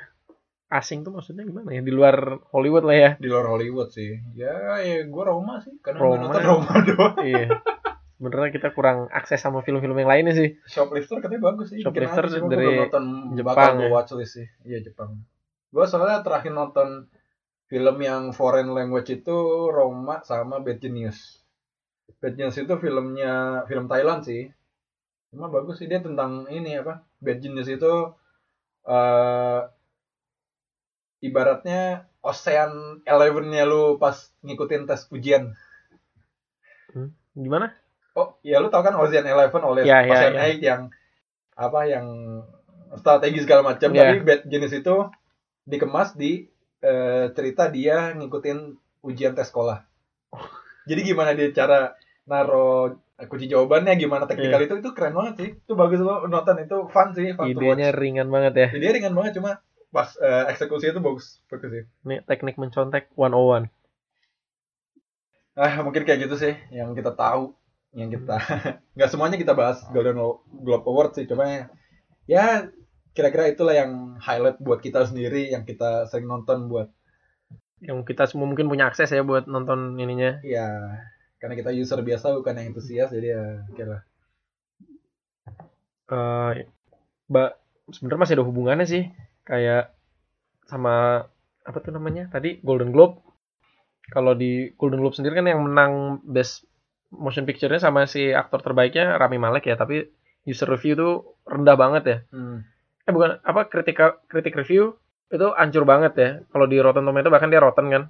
Speaker 2: Asing tuh maksudnya gimana ya? Di luar Hollywood lah ya.
Speaker 1: di luar Hollywood sih ya ya gue Roma sih karena
Speaker 2: Roma. ya?
Speaker 1: gue nonton Roma doang
Speaker 2: iya. Sebenarnya kita kurang akses sama film-film yang lainnya sih.
Speaker 1: shoplifter katanya bagus sih
Speaker 2: Shoplifter
Speaker 1: Bikin aja, cuma
Speaker 2: dari
Speaker 1: gua belum nonton
Speaker 2: Jepang
Speaker 1: bakal gue
Speaker 2: ya.
Speaker 1: watchlist sih iya Jepang gue soalnya terakhir nonton film yang foreign language itu Roma sama Bad Genius Bad Genius itu filmnya film Thailand sih cuma bagus sih dia tentang ini apa Bad Genius itu eh ibaratnya Ocean Eleven-nya lu pas ngikutin tes ujian
Speaker 2: Gimana?
Speaker 1: Oh, ya lu tau kan Ocean Eleven oleh
Speaker 2: Ya, ya,
Speaker 1: Ocean
Speaker 2: ya.
Speaker 1: Eight yang apa yang strategi segala macam
Speaker 2: Ya.
Speaker 1: tapi bad jenis itu dikemas di eh, cerita dia ngikutin ujian tes sekolah. Jadi gimana dia cara naro kunci jawabannya gimana teknikal itu itu keren banget sih. Itu bagus lo nonton itu fun sih, fun to watch.
Speaker 2: Idenya ringan banget ya.
Speaker 1: Jadi ringan banget cuma pas eh, eksekusi itu bagus bagus sih.
Speaker 2: Ini teknik mencontek 101.
Speaker 1: Ah, mungkin kayak gitu sih yang kita tahu, yang kita nggak semuanya kita bahas Golden Lo- Globe Award sih, cuma ya- ya kira-kira itulah yang highlight buat kita sendiri yang kita sering nonton buat
Speaker 2: Yang kita semua mungkin punya akses ya buat nonton ininya.
Speaker 1: ya karena kita user biasa bukan yang antusias jadi ya kira
Speaker 2: Eh, ba- sebenarnya masih ada hubungannya sih. Kayak sama apa tuh namanya? Tadi Golden Globe. Kalau di Golden Globe sendiri kan yang menang best motion picture-nya sama si aktor terbaiknya Rami Malek ya, tapi user review tuh rendah banget ya.
Speaker 1: hmm.
Speaker 2: eh bukan apa kritika kritik review itu hancur banget ya kalau di Rotten Tomato bahkan dia rotten kan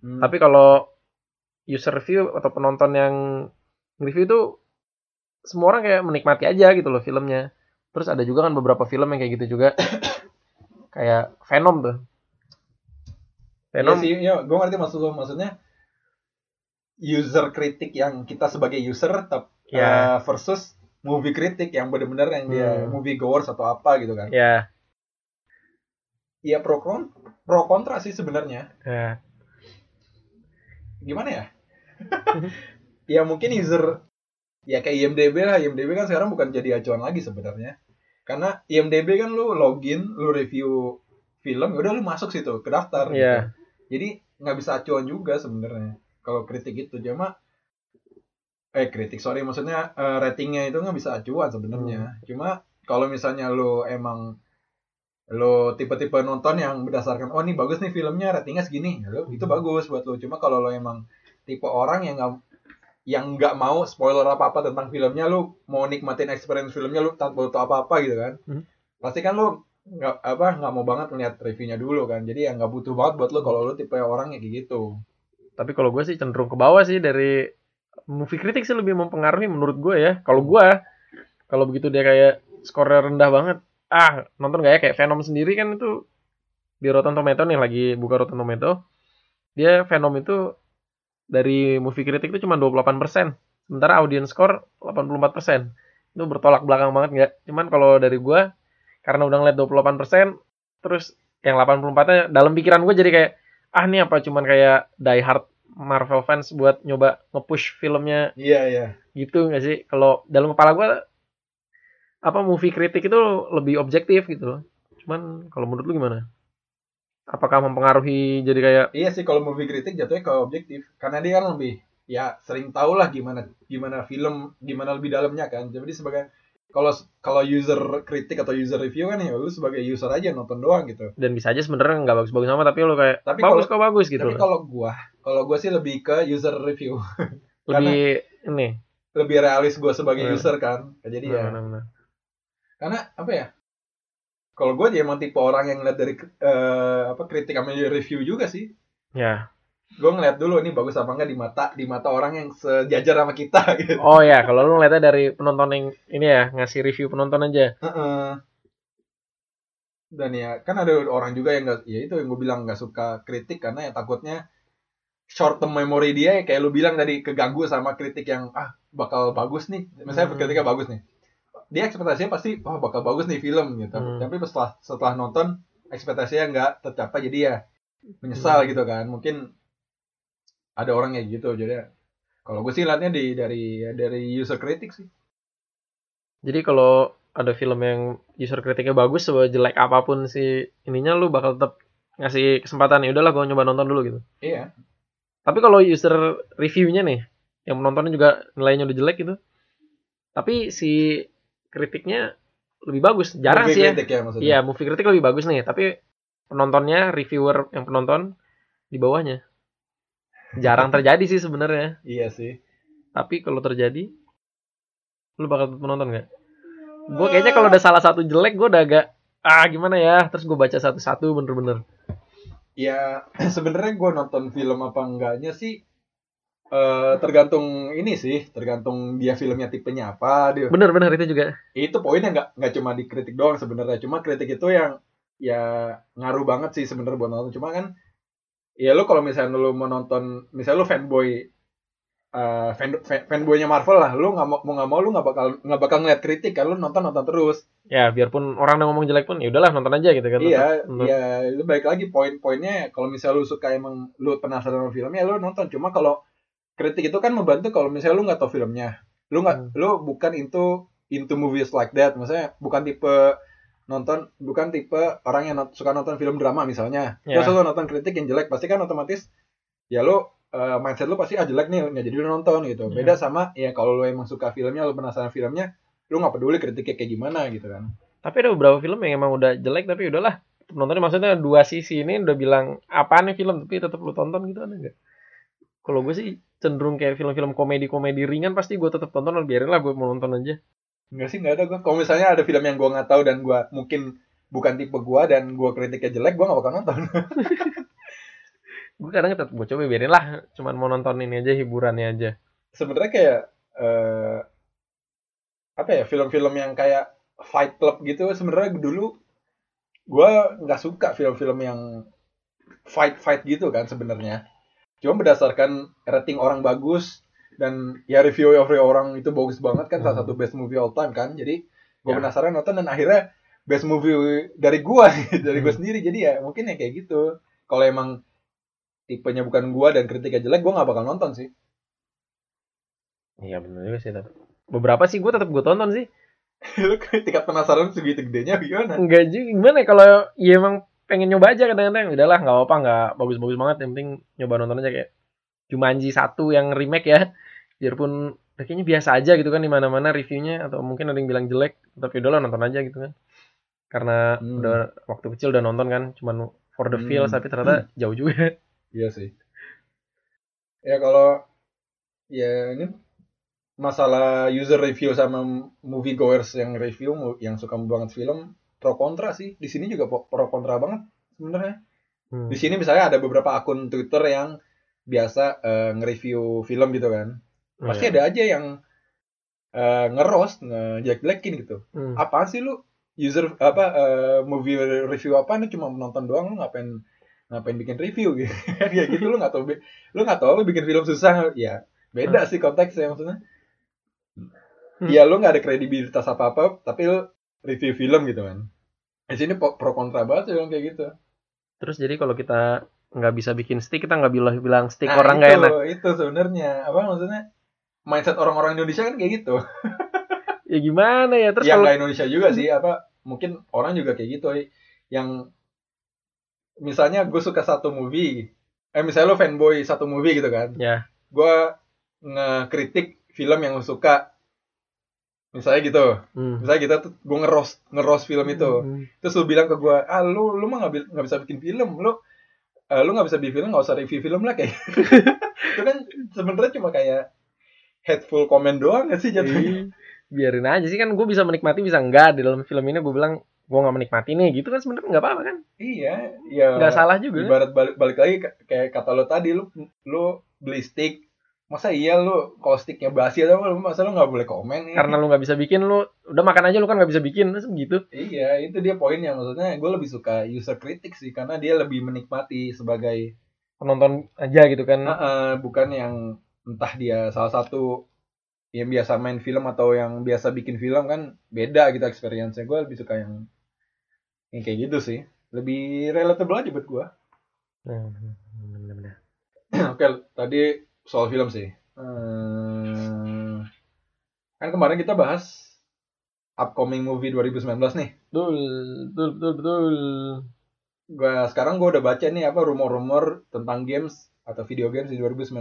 Speaker 1: Hmm.
Speaker 2: tapi kalau user review atau penonton yang review itu semua orang kayak menikmati aja gitu loh filmnya terus ada juga kan beberapa film yang kayak gitu juga kayak Venom tuh
Speaker 1: Iya
Speaker 2: Venom
Speaker 1: sih, ya, gue ngerti maksud lo. maksudnya user kritik yang kita sebagai user tap, eh,
Speaker 2: ya
Speaker 1: versus movie kritik yang benar-benar yang dia
Speaker 2: Hmm.
Speaker 1: movie goers atau apa gitu kan.
Speaker 2: ya
Speaker 1: Iya pro kon- pro kontra sih sebenarnya.
Speaker 2: ya
Speaker 1: gimana ya? ya mungkin user ya kayak IMDb lah, IMDb kan sekarang bukan jadi acuan lagi sebenarnya. Karena IMDb kan lu login, lu review film, ya udah lu masuk situ ke daftar. gitu.
Speaker 2: Iya.
Speaker 1: Jadi nggak bisa acuan juga sebenarnya kalau kritik itu cuma eh kritik sorry maksudnya eh, ratingnya itu nggak bisa acuan sebenarnya. Cuma kalau misalnya lu emang lo tipe-tipe nonton yang berdasarkan oh ini bagus nih filmnya ratingnya segini ya lo itu bagus buat lo cuma kalau lo emang tipe orang yang nggak yang nggak mau spoiler apa apa tentang filmnya lo mau nikmatin experience filmnya lo tanpa lo tau apa apa gitu kan
Speaker 2: Hmm.
Speaker 1: pasti kan lo nggak apa nggak mau banget melihat reviewnya dulu kan jadi ya nggak butuh banget buat lo kalau lo tipe orang yang kayak gitu
Speaker 2: tapi kalau gue sih cenderung ke bawah sih dari movie kritik sih lebih mempengaruhi menurut gue ya kalau gue kalau begitu dia kayak skornya rendah banget ah nonton gak ya kayak Venom sendiri kan itu di Rotten Tomato nih lagi buka Rotten Tomato dia Venom itu dari movie kritik itu cuma 28% sementara audience score 84% itu bertolak belakang banget nggak cuman kalau dari gue karena udah ngeliat 28% terus yang 84-nya dalam pikiran gue jadi kayak ah nih apa cuman kayak die hard Marvel fans buat nyoba nge-push filmnya
Speaker 1: iya iya
Speaker 2: gitu nggak sih kalau dalam kepala gue apa movie kritik itu lebih objektif gitu loh cuman kalau menurut lu gimana apakah mempengaruhi jadi kayak
Speaker 1: iya sih kalau movie kritik jatuhnya ke objektif karena dia kan lebih ya sering tahu lah gimana gimana film gimana lebih dalamnya kan jadi sebagai kalau kalau user kritik atau user review kan ya lu sebagai user aja nonton doang gitu
Speaker 2: dan bisa aja sebenarnya nggak bagus-bagus sama tapi lo kayak
Speaker 1: Tapi
Speaker 2: bagus kok bagus gitu
Speaker 1: tapi
Speaker 2: loh.
Speaker 1: kalau gua kalau gua sih lebih ke user review
Speaker 2: lebih ini
Speaker 1: lebih realis gua sebagai
Speaker 2: Hmm.
Speaker 1: user kan jadi ya
Speaker 2: benar-benar.
Speaker 1: karena apa ya kalau gue emang tipe orang yang ngeliat dari eh, apa kritik sama review juga sih
Speaker 2: ya
Speaker 1: gue ngeliat dulu ini bagus apa enggak di mata di mata orang yang sejajar sama kita gitu
Speaker 2: oh ya kalau lu ngeliatnya dari penonton yang ini ya ngasih review penonton aja
Speaker 1: Heeh. dan ya kan ada orang juga yang nggak ya itu yang gue bilang nggak suka kritik karena ya takutnya short term memory dia ya kayak lu bilang tadi keganggu sama kritik yang ah bakal bagus nih misalnya
Speaker 2: Hmm.
Speaker 1: kritiknya bagus nih dia ekspektasinya pasti wah bakal bagus nih film gitu
Speaker 2: Hmm.
Speaker 1: tapi setelah setelah nonton ekspektasinya nggak tercapai jadi ya menyesal
Speaker 2: Hmm.
Speaker 1: gitu kan mungkin ada orang kayak gitu jadi ya, kalau gue sih liatnya di dari ya dari user kritik sih
Speaker 2: jadi kalau ada film yang user kritiknya bagus sejelek apapun si ininya lu bakal tetap ngasih kesempatan ya udahlah gua nyoba nonton dulu gitu
Speaker 1: iya
Speaker 2: tapi kalau user reviewnya nih yang menontonnya juga nilainya udah jelek gitu tapi si kritiknya lebih bagus jarang
Speaker 1: Movie
Speaker 2: sih ya
Speaker 1: kritik ya maksudnya
Speaker 2: iya movie kritik lebih bagus nih tapi penontonnya reviewer yang penonton di bawahnya jarang terjadi sih sebenarnya
Speaker 1: iya sih
Speaker 2: Tapi kalau terjadi, lu bakal menonton nggak? Gue kayaknya kalau ada salah satu jelek, gue udah agak ah gimana ya. Terus gue baca satu-satu bener-bener.
Speaker 1: Ya sebenarnya gue nonton film apa enggaknya sih eh, tergantung ini sih, tergantung dia filmnya tipenya apa. Dia.
Speaker 2: Bener-bener itu juga.
Speaker 1: Itu poinnya nggak nggak cuma dikritik doang sebenarnya, cuma kritik itu yang ya ngaruh banget sih sebenarnya buat nonton. Cuma kan ya lu kalau misalnya lu mau nonton, misalnya lu fanboy eh, fan, fan- fanboynya Marvel lah, lu nggak mau mau nggak mau lu nggak bakal nggak bakal ngeliat kritik kan lu nonton nonton terus.
Speaker 2: Ya biarpun orang yang ngomong jelek pun, ya udahlah nonton aja gitu kan.
Speaker 1: Iya,
Speaker 2: Nonton.
Speaker 1: iya, itu baik lagi poin-poinnya. Kalau misalnya lu suka emang lu penasaran sama filmnya, lu nonton. Cuma kalau kritik itu kan membantu kalau misalnya lu nggak tahu filmnya, lu nggak,
Speaker 2: Hmm.
Speaker 1: lu bukan into into movies like that. Maksudnya bukan tipe nonton, bukan tipe orang yang not- suka nonton film drama misalnya.
Speaker 2: Iya.
Speaker 1: Terus lu nonton kritik yang jelek, pasti kan otomatis ya lu eh, mindset lu pasti ah jelek nih, nggak jadi lu nonton gitu.
Speaker 2: Iya.
Speaker 1: Beda sama ya kalau lu emang suka filmnya, lu penasaran filmnya, lu nggak peduli kritiknya kayak gimana gitu kan.
Speaker 2: Tapi ada beberapa film yang emang udah jelek, tapi udahlah. Penontonnya maksudnya dua sisi ini udah bilang apa nih film, tapi tetap lu tonton gitu ada nggak? Kalau gue sih cenderung kayak film-film komedi-komedi ringan pasti gue tetap tonton biarin lah gue mau nonton aja.
Speaker 1: Enggak sih, enggak ada gua. Kalau misalnya ada film yang gua nggak tahu dan gua mungkin bukan tipe gua dan gua kritiknya jelek, gua nggak bakal nonton.
Speaker 2: Gue kadang tetap gue coba biarin lah, cuman mau nonton ini aja hiburannya aja.
Speaker 1: Sebenarnya kayak eh apa ya, film-film yang kayak Fight Club gitu sebenarnya dulu gua nggak suka film-film yang fight-fight gitu kan sebenarnya. Cuma berdasarkan rating orang bagus dan ya review review orang itu bagus banget kan salah
Speaker 2: Hmm.
Speaker 1: satu best movie all time kan. Jadi gue
Speaker 2: Ya.
Speaker 1: penasaran nonton dan akhirnya best movie dari gua dari gua
Speaker 2: Hmm.
Speaker 1: sendiri. Jadi ya mungkin ya kayak gitu. Kalau emang tipenya bukan gua dan kritiknya jelek, gua nggak bakal nonton sih.
Speaker 2: Iya benar juga sih tapi beberapa sih gue tetap gue tonton sih.
Speaker 1: Lu tingkat penasaran segitu gedenya gimana?
Speaker 2: Enggak juga gimana ya, kalau ya emang pengen nyoba aja kadang-kadang udahlah nggak apa-apa nggak bagus-bagus banget yang penting nyoba nonton aja kayak Jumanji satu yang remake ya biarpun kayaknya biasa aja gitu kan di mana-mana reviewnya atau mungkin ada yang bilang jelek tapi udahlah nonton aja gitu kan karena
Speaker 1: Hmm.
Speaker 2: udah waktu kecil udah nonton kan cuman for the
Speaker 1: Hmm.
Speaker 2: feel tapi ternyata jauh juga
Speaker 1: Iya sih. Ya kalau ya ini masalah user review sama movie goers yang review mu- yang suka banget film pro kontra sih. Di sini juga po- pro kontra banget sebenarnya.
Speaker 2: Hmm.
Speaker 1: Di sini misalnya ada beberapa akun Twitter yang biasa eh, nge-review film gitu kan. Pasti
Speaker 2: Iya.
Speaker 1: ada aja yang eh, ngeroast, ngejelek-jelekin gitu.
Speaker 2: Hmm.
Speaker 1: Apaan sih lu? User apa eh, movie review apa lu cuma menonton doang lu ngapain ngapain bikin review gitu. ya gitu lu nggak tahu bi- lu nggak tahu apa bikin film susah ya. Beda sih konteksnya maksudnya.
Speaker 2: Hmm.
Speaker 1: Iya, lu nggak ada kredibilitas apa-apa tapi lu review film gitu kan. Di sini po- pro kontra banget sih yang kayak gitu.
Speaker 2: terus jadi kalau kita nggak bisa bikin stick kita nggak bilang bilang stick
Speaker 1: Nah,
Speaker 2: orang nggak
Speaker 1: itu,
Speaker 2: enak
Speaker 1: Itu sebenarnya apa maksudnya? Mindset orang-orang Indonesia kan kayak gitu.
Speaker 2: ya gimana ya terus
Speaker 1: yang
Speaker 2: kalau Hmm.
Speaker 1: nggak Indonesia juga sih apa mungkin orang juga kayak gitu eh. yang misalnya gue suka satu movie eh misalnya lo fanboy satu movie gitu kan
Speaker 2: Ya.
Speaker 1: gue ngekritik film yang lo suka misalnya gitu
Speaker 2: Hmm.
Speaker 1: misalnya kita tuh gue ngeros ngeros film itu
Speaker 2: Hmm.
Speaker 1: terus lu bilang ke gue ah lu lu mah nggak bi- nggak bisa bikin film lu eh, lu nggak bisa bikin film nggak usah review film lah kayak itu kan sebenarnya cuma kayak hateful comment doang gak sih jatuhnya
Speaker 2: Ih, Iya, biarin aja sih kan gue bisa menikmati bisa enggak di dalam film ini gue bilang gue nggak menikmati nih gitu kan sebenarnya nggak apa-apa kan
Speaker 1: iya ya
Speaker 2: nggak salah juga kan?
Speaker 1: ibarat balik, balik lagi ke- kayak kata lo tadi lu lu beli stick masa iya lu kalau sticknya basi atau apa, masa lu nggak boleh komen ya?
Speaker 2: karena lu nggak bisa bikin lu udah makan aja lu kan nggak bisa bikin gitu? terus begitu
Speaker 1: Iya, itu dia poinnya. Maksudnya gue lebih suka user kritik sih karena dia lebih menikmati sebagai
Speaker 2: penonton aja gitu kan
Speaker 1: Nah, eh, bukan yang entah dia salah satu yang biasa main film atau yang biasa bikin film kan beda gitu experience-nya. Gue lebih suka yang yang kayak gitu sih. Lebih relatable aja buat gue.
Speaker 2: Nah, bener-bener.
Speaker 1: Oke, tadi soal film sih. Eh, kan kemarin kita bahas upcoming movie 2019 nih.
Speaker 2: betul betul betul betul
Speaker 1: gua sekarang gue udah baca nih apa rumor-rumor tentang games atau video games di 2019.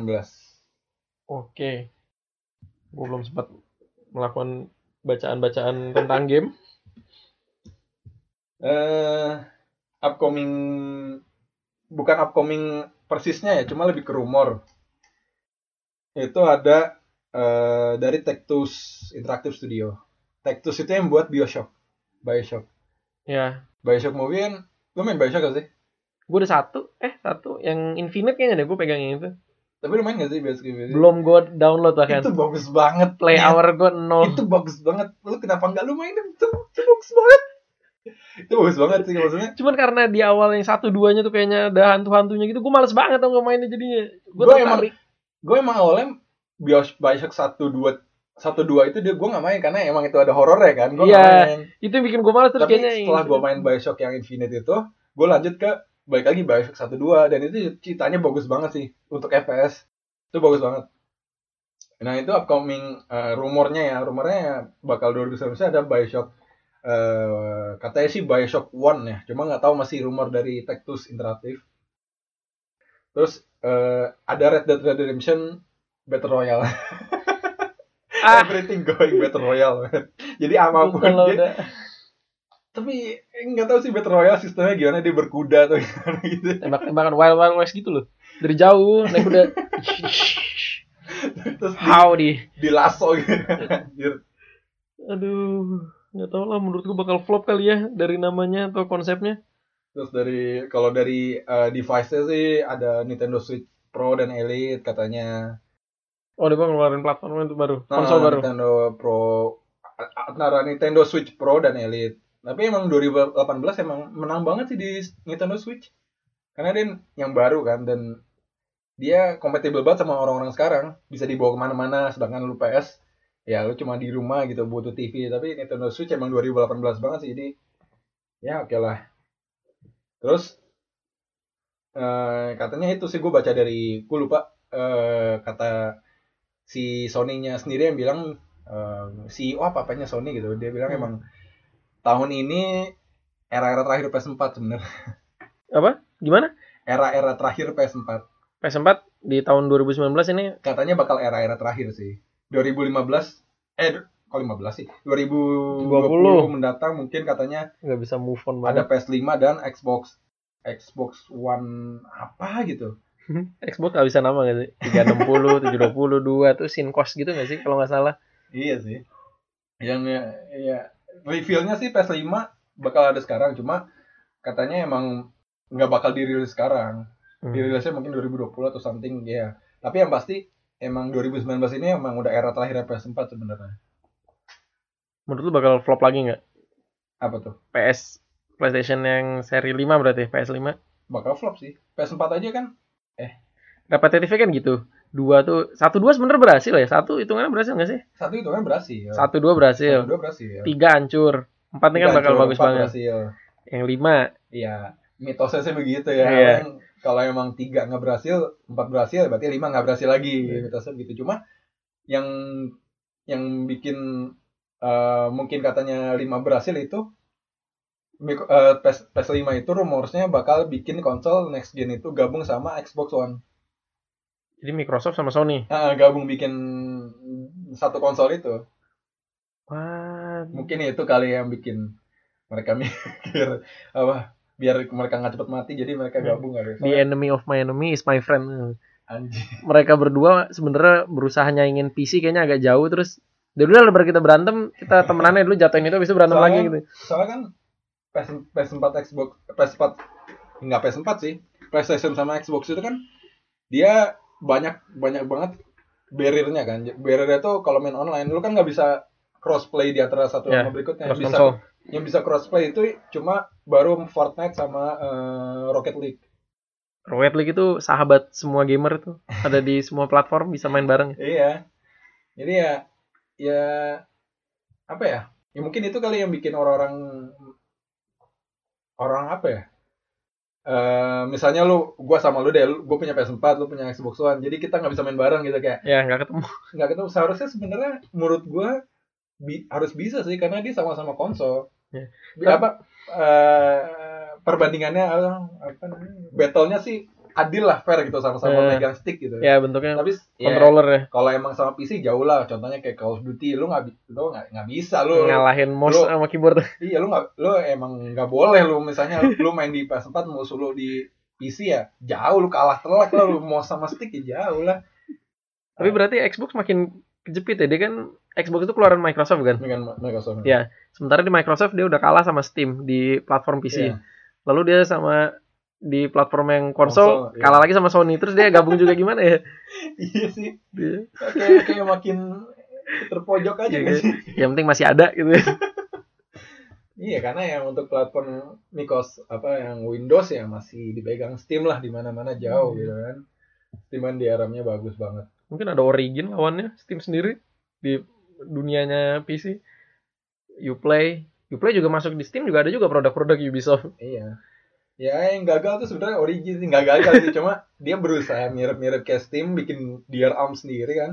Speaker 2: oke gue belum sempat melakukan bacaan-bacaan tentang game
Speaker 1: Eh upcoming bukan upcoming persisnya ya, cuma lebih ke rumor. Itu ada eh dari Tectus Interactive Studio. Tectus itu yang buat BioShock. BioShock.
Speaker 2: ya
Speaker 1: BioShock movie kan lu main BioShock gak sih?
Speaker 2: gue udah satu eh satu yang infinite kayaknya deh gue pegang yang itu
Speaker 1: Tapi lu main gak sih BioShock?
Speaker 2: belum gue download kan. bahkan
Speaker 1: Itu bagus banget.
Speaker 2: play
Speaker 1: Niat
Speaker 2: hour gue nol
Speaker 1: itu bagus banget lu kenapa nggak lu mainin itu, itu bagus banget itu bagus banget sih maksudnya
Speaker 2: Cuman karena di awal yang satu duanya tuh kayaknya ada hantu-hantunya gitu, gue males banget tau gak mainnya jadinya. Gue
Speaker 1: Gua
Speaker 2: tertarik.
Speaker 1: gue emang awalnya bios Bioshock satu dua satu dua itu dia gue nggak main karena emang itu ada horor ya kan gue nggak
Speaker 2: Iya,
Speaker 1: main
Speaker 2: Itu yang bikin gue males terus
Speaker 1: tapi
Speaker 2: kayaknya. yang-
Speaker 1: setelah gue main Bioshock yang Infinite itu gue lanjut ke balik lagi Bioshock satu dua dan itu ceritanya bagus banget sih untuk FPS itu bagus banget nah itu upcoming eh, rumornya ya rumornya ya bakal 2019 ada Bioshock eh katanya sih Bioshock One ya cuma nggak tahu masih rumor dari Tectus Interactive terus eh, ada Red Dead Redemption Battle Royale
Speaker 2: Ah,
Speaker 1: everything going Battle Royale man. jadi apapun
Speaker 2: kalau
Speaker 1: dia-
Speaker 2: udah.
Speaker 1: tapi eh, nggak tahu sih battle royale sistemnya gimana dia berkuda atau gimana gitu
Speaker 2: Tembak-tembakan Wild Wild West gitu loh. Dari jauh, naik kuda.
Speaker 1: terus
Speaker 2: Howdy.
Speaker 1: dilasso gitu anjir
Speaker 2: Aduh, gak tau lah menurut gue bakal flop kali ya dari namanya atau konsepnya.
Speaker 1: terus dari kalau dari device nya sih ada Nintendo Switch Pro dan Elite katanya
Speaker 2: Oh, dia bang ngeluarin platform itu baru,
Speaker 1: Nah,
Speaker 2: konsol baru.
Speaker 1: Nintendo Pro antara Nintendo Switch Pro dan Elite tapi emang 2018 emang menang banget sih di Nintendo Switch karena dia yang baru kan dan dia kompatibel banget sama orang-orang sekarang bisa dibawa kemana-mana sedangkan lu PS ya lu cuma di rumah gitu butuh TV tapi Nintendo Switch emang 2018 banget sih jadi ya oke lah terus eh, katanya itu sih gue baca dari gue lupa eh, kata si Sony-nya sendiri yang bilang eh, CEO apa apanya Sony gitu dia bilang
Speaker 2: Hmm.
Speaker 1: emang tahun ini era-era terakhir PS4 sebenarnya
Speaker 2: Apa? Gimana?
Speaker 1: era-era terakhir PS4
Speaker 2: PS4 di tahun 2019 ini
Speaker 1: katanya bakal era-era terakhir sih. 2015 eh kok 15 sih? 2020
Speaker 2: 20.
Speaker 1: mendatang mungkin katanya
Speaker 2: nggak bisa move on
Speaker 1: ada
Speaker 2: banget.
Speaker 1: PS5 dan Xbox Xbox One apa gitu.
Speaker 2: Xbox gak bisa nama gak sih? 360, 720, 2 tuh sinkos gitu gak sih kalau gak salah?
Speaker 1: Iya sih. Yang ya, ya reveal-nya sih PS5 bakal ada sekarang cuma katanya emang nggak bakal dirilis sekarang.
Speaker 2: Hmm. Iya,
Speaker 1: Dirilisnya mungkin 2020 atau something ya. Tapi yang pasti emang 2019 ini emang udah era terakhir PS4 sebenarnya.
Speaker 2: Menurut lu bakal flop lagi gak?
Speaker 1: Apa tuh?
Speaker 2: PS PlayStation yang seri 5 berarti PS5.
Speaker 1: Bakal flop sih. PS4 aja kan
Speaker 2: Repetitifnya kan gitu. Dua tuh, satu dua sebenernya berhasil ya? Satu hitungannya berhasil gak sih?
Speaker 1: satu itu kan berhasil.
Speaker 2: Satu dua
Speaker 1: Satu
Speaker 2: berhasil.
Speaker 1: dua berhasil.
Speaker 2: Tiga hancur. Empat ini kan
Speaker 1: Tiga
Speaker 2: bakal
Speaker 1: hancur,
Speaker 2: bagus
Speaker 1: empat
Speaker 2: banget.
Speaker 1: Berhasil.
Speaker 2: Yang lima,
Speaker 1: Iya, mitosnya sih begitu ya.
Speaker 2: Iya.
Speaker 1: Orang Kalau emang tiga nggak berhasil, empat berhasil, berarti lima nggak berhasil lagi.
Speaker 2: Iya.
Speaker 1: Mitosnya begitu. Cuma yang yang bikin eh, mungkin katanya lima berhasil itu Mik- eh, PS, PS5 itu rumornya bakal bikin konsol next gen itu gabung sama Xbox One.
Speaker 2: Jadi Microsoft sama Sony.
Speaker 1: Ah, gabung bikin satu konsol itu.
Speaker 2: Wah.
Speaker 1: Mungkin itu kali yang bikin mereka mikir apa biar mereka nggak cepet mati jadi
Speaker 2: Iya.
Speaker 1: mereka gabung kali.
Speaker 2: The
Speaker 1: Soalnya,
Speaker 2: enemy of my enemy is my friend.
Speaker 1: anjing.
Speaker 2: Mereka berdua sebenarnya berusaha nyaingin PC kayaknya agak jauh terus ya udah lah, kita berantem kita temenannya dulu jatuhin itu habis itu berantem
Speaker 1: Soalnya-
Speaker 2: lagi gitu.
Speaker 1: Soalnya kan PS, PS4 Xbox PS4 nggak PS4 sih. PlayStation sama Xbox itu kan dia banyak banyak banget barriernya kan. Barriernya tuh kalau main online lu kan nggak bisa crossplay di antara satu
Speaker 2: Ya,
Speaker 1: sama berikutnya.
Speaker 2: Cross
Speaker 1: Yang bisa
Speaker 2: console.
Speaker 1: yang bisa crossplay itu cuma baru Fortnite sama eh, Rocket League.
Speaker 2: Rocket League itu sahabat semua gamer tuh. Ada di semua platform bisa main bareng.
Speaker 1: Iya. Jadi ya ya apa ya? Ya mungkin itu kali yang bikin orang-orang orang apa ya? Eh misalnya lu gua sama lu deh, lu, gua punya PS4, lu punya Xbox One. Jadi kita nggak bisa main bareng gitu kayak.
Speaker 2: Ya nggak ketemu.
Speaker 1: nggak ketemu seharusnya sebenarnya menurut gua bi- harus bisa sih karena dia sama-sama konsol.
Speaker 2: Ya.
Speaker 1: Bi- Apa eh perbandingannya eh, apa namanya? Battle-nya sih adil lah fair gitu sama-sama
Speaker 2: Ya.
Speaker 1: megang stick gitu.
Speaker 2: Ya bentuknya
Speaker 1: Tapi ya,
Speaker 2: controller ya.
Speaker 1: kalau emang sama PC jauh lah contohnya kayak Call of Duty lu nggak bi- lu nggak nggak bisa lu
Speaker 2: Ngalahin mouse
Speaker 1: lu-
Speaker 2: sama keyboard.
Speaker 1: iya lu nggak lu emang nggak boleh lu misalnya lu main di PS4 musuh lu di PC ya jauh lu kalah telak lah lu mau sama stick ya jauh lah
Speaker 2: Tapi berarti Xbox makin kejepit ya. Dia kan Xbox itu keluaran Microsoft kan.
Speaker 1: dengan Microsoft
Speaker 2: Ya, Sementara di Microsoft dia udah kalah sama Steam di platform PC.
Speaker 1: Iya.
Speaker 2: Lalu dia sama di platform yang konsol,
Speaker 1: Konsol, iya.
Speaker 2: kalah lagi sama Sony terus dia gabung juga gimana ya?
Speaker 1: iya sih
Speaker 2: Dia-
Speaker 1: kayak kayak makin terpojok aja
Speaker 2: Iya,
Speaker 1: nggak
Speaker 2: iya.
Speaker 1: sih?
Speaker 2: Yang penting masih ada gitu.
Speaker 1: Iya karena yang untuk platform Microsoft apa yang Windows ya masih dipegang Steam lah di mana-mana jauh
Speaker 2: Iya.
Speaker 1: gitu kan. Steam kan DRM-nya bagus banget.
Speaker 2: Mungkin ada Origin lawannya Steam sendiri di dunianya PC. Uplay, Uplay juga masuk di Steam juga ada juga produk-produk Ubisoft.
Speaker 1: Iya. Ya yang gagal tuh sebenarnya Origin sih nggak gagal sih cuma dia berusaha mirip-mirip kayak Steam bikin DRM sendiri kan.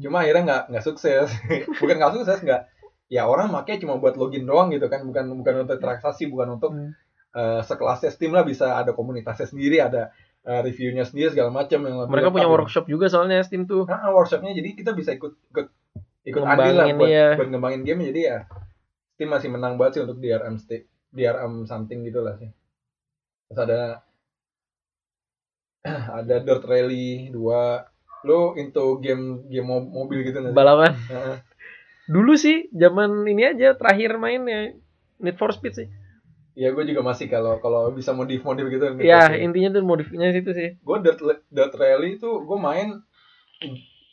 Speaker 1: Cuma akhirnya nggak nggak sukses. bukan nggak sukses nggak. Ya orang makanya cuma buat login doang gitu kan bukan bukan untuk transaksi bukan untuk
Speaker 2: Hmm.
Speaker 1: eh, sekelasnya Steam lah bisa ada komunitasnya sendiri ada eh, reviewnya sendiri segala macam yang lebih lengkap
Speaker 2: Mereka punya
Speaker 1: ya.
Speaker 2: workshop juga soalnya Steam tuh.
Speaker 1: Nah, workshopnya jadi kita bisa ikut ikut ikut andil lah
Speaker 2: Ngembangin,
Speaker 1: buat,
Speaker 2: iya.
Speaker 1: buat ngembangin game jadi ya Steam masih menang banget sih untuk DRM Steam DRM something gitu lah sih terus ada ada Dirt Rally 2 lu into game game mo- mobil gitu nggak sih?
Speaker 2: Balapan.
Speaker 1: Heeh.
Speaker 2: Dulu sih zaman ini aja terakhir mainnya Need for Speed sih.
Speaker 1: ya gue juga masih kalau kalau bisa modif modif gitu
Speaker 2: Ya, intinya tuh modifnya situ sih.
Speaker 1: gue Dirt, Dirt Rally itu gue main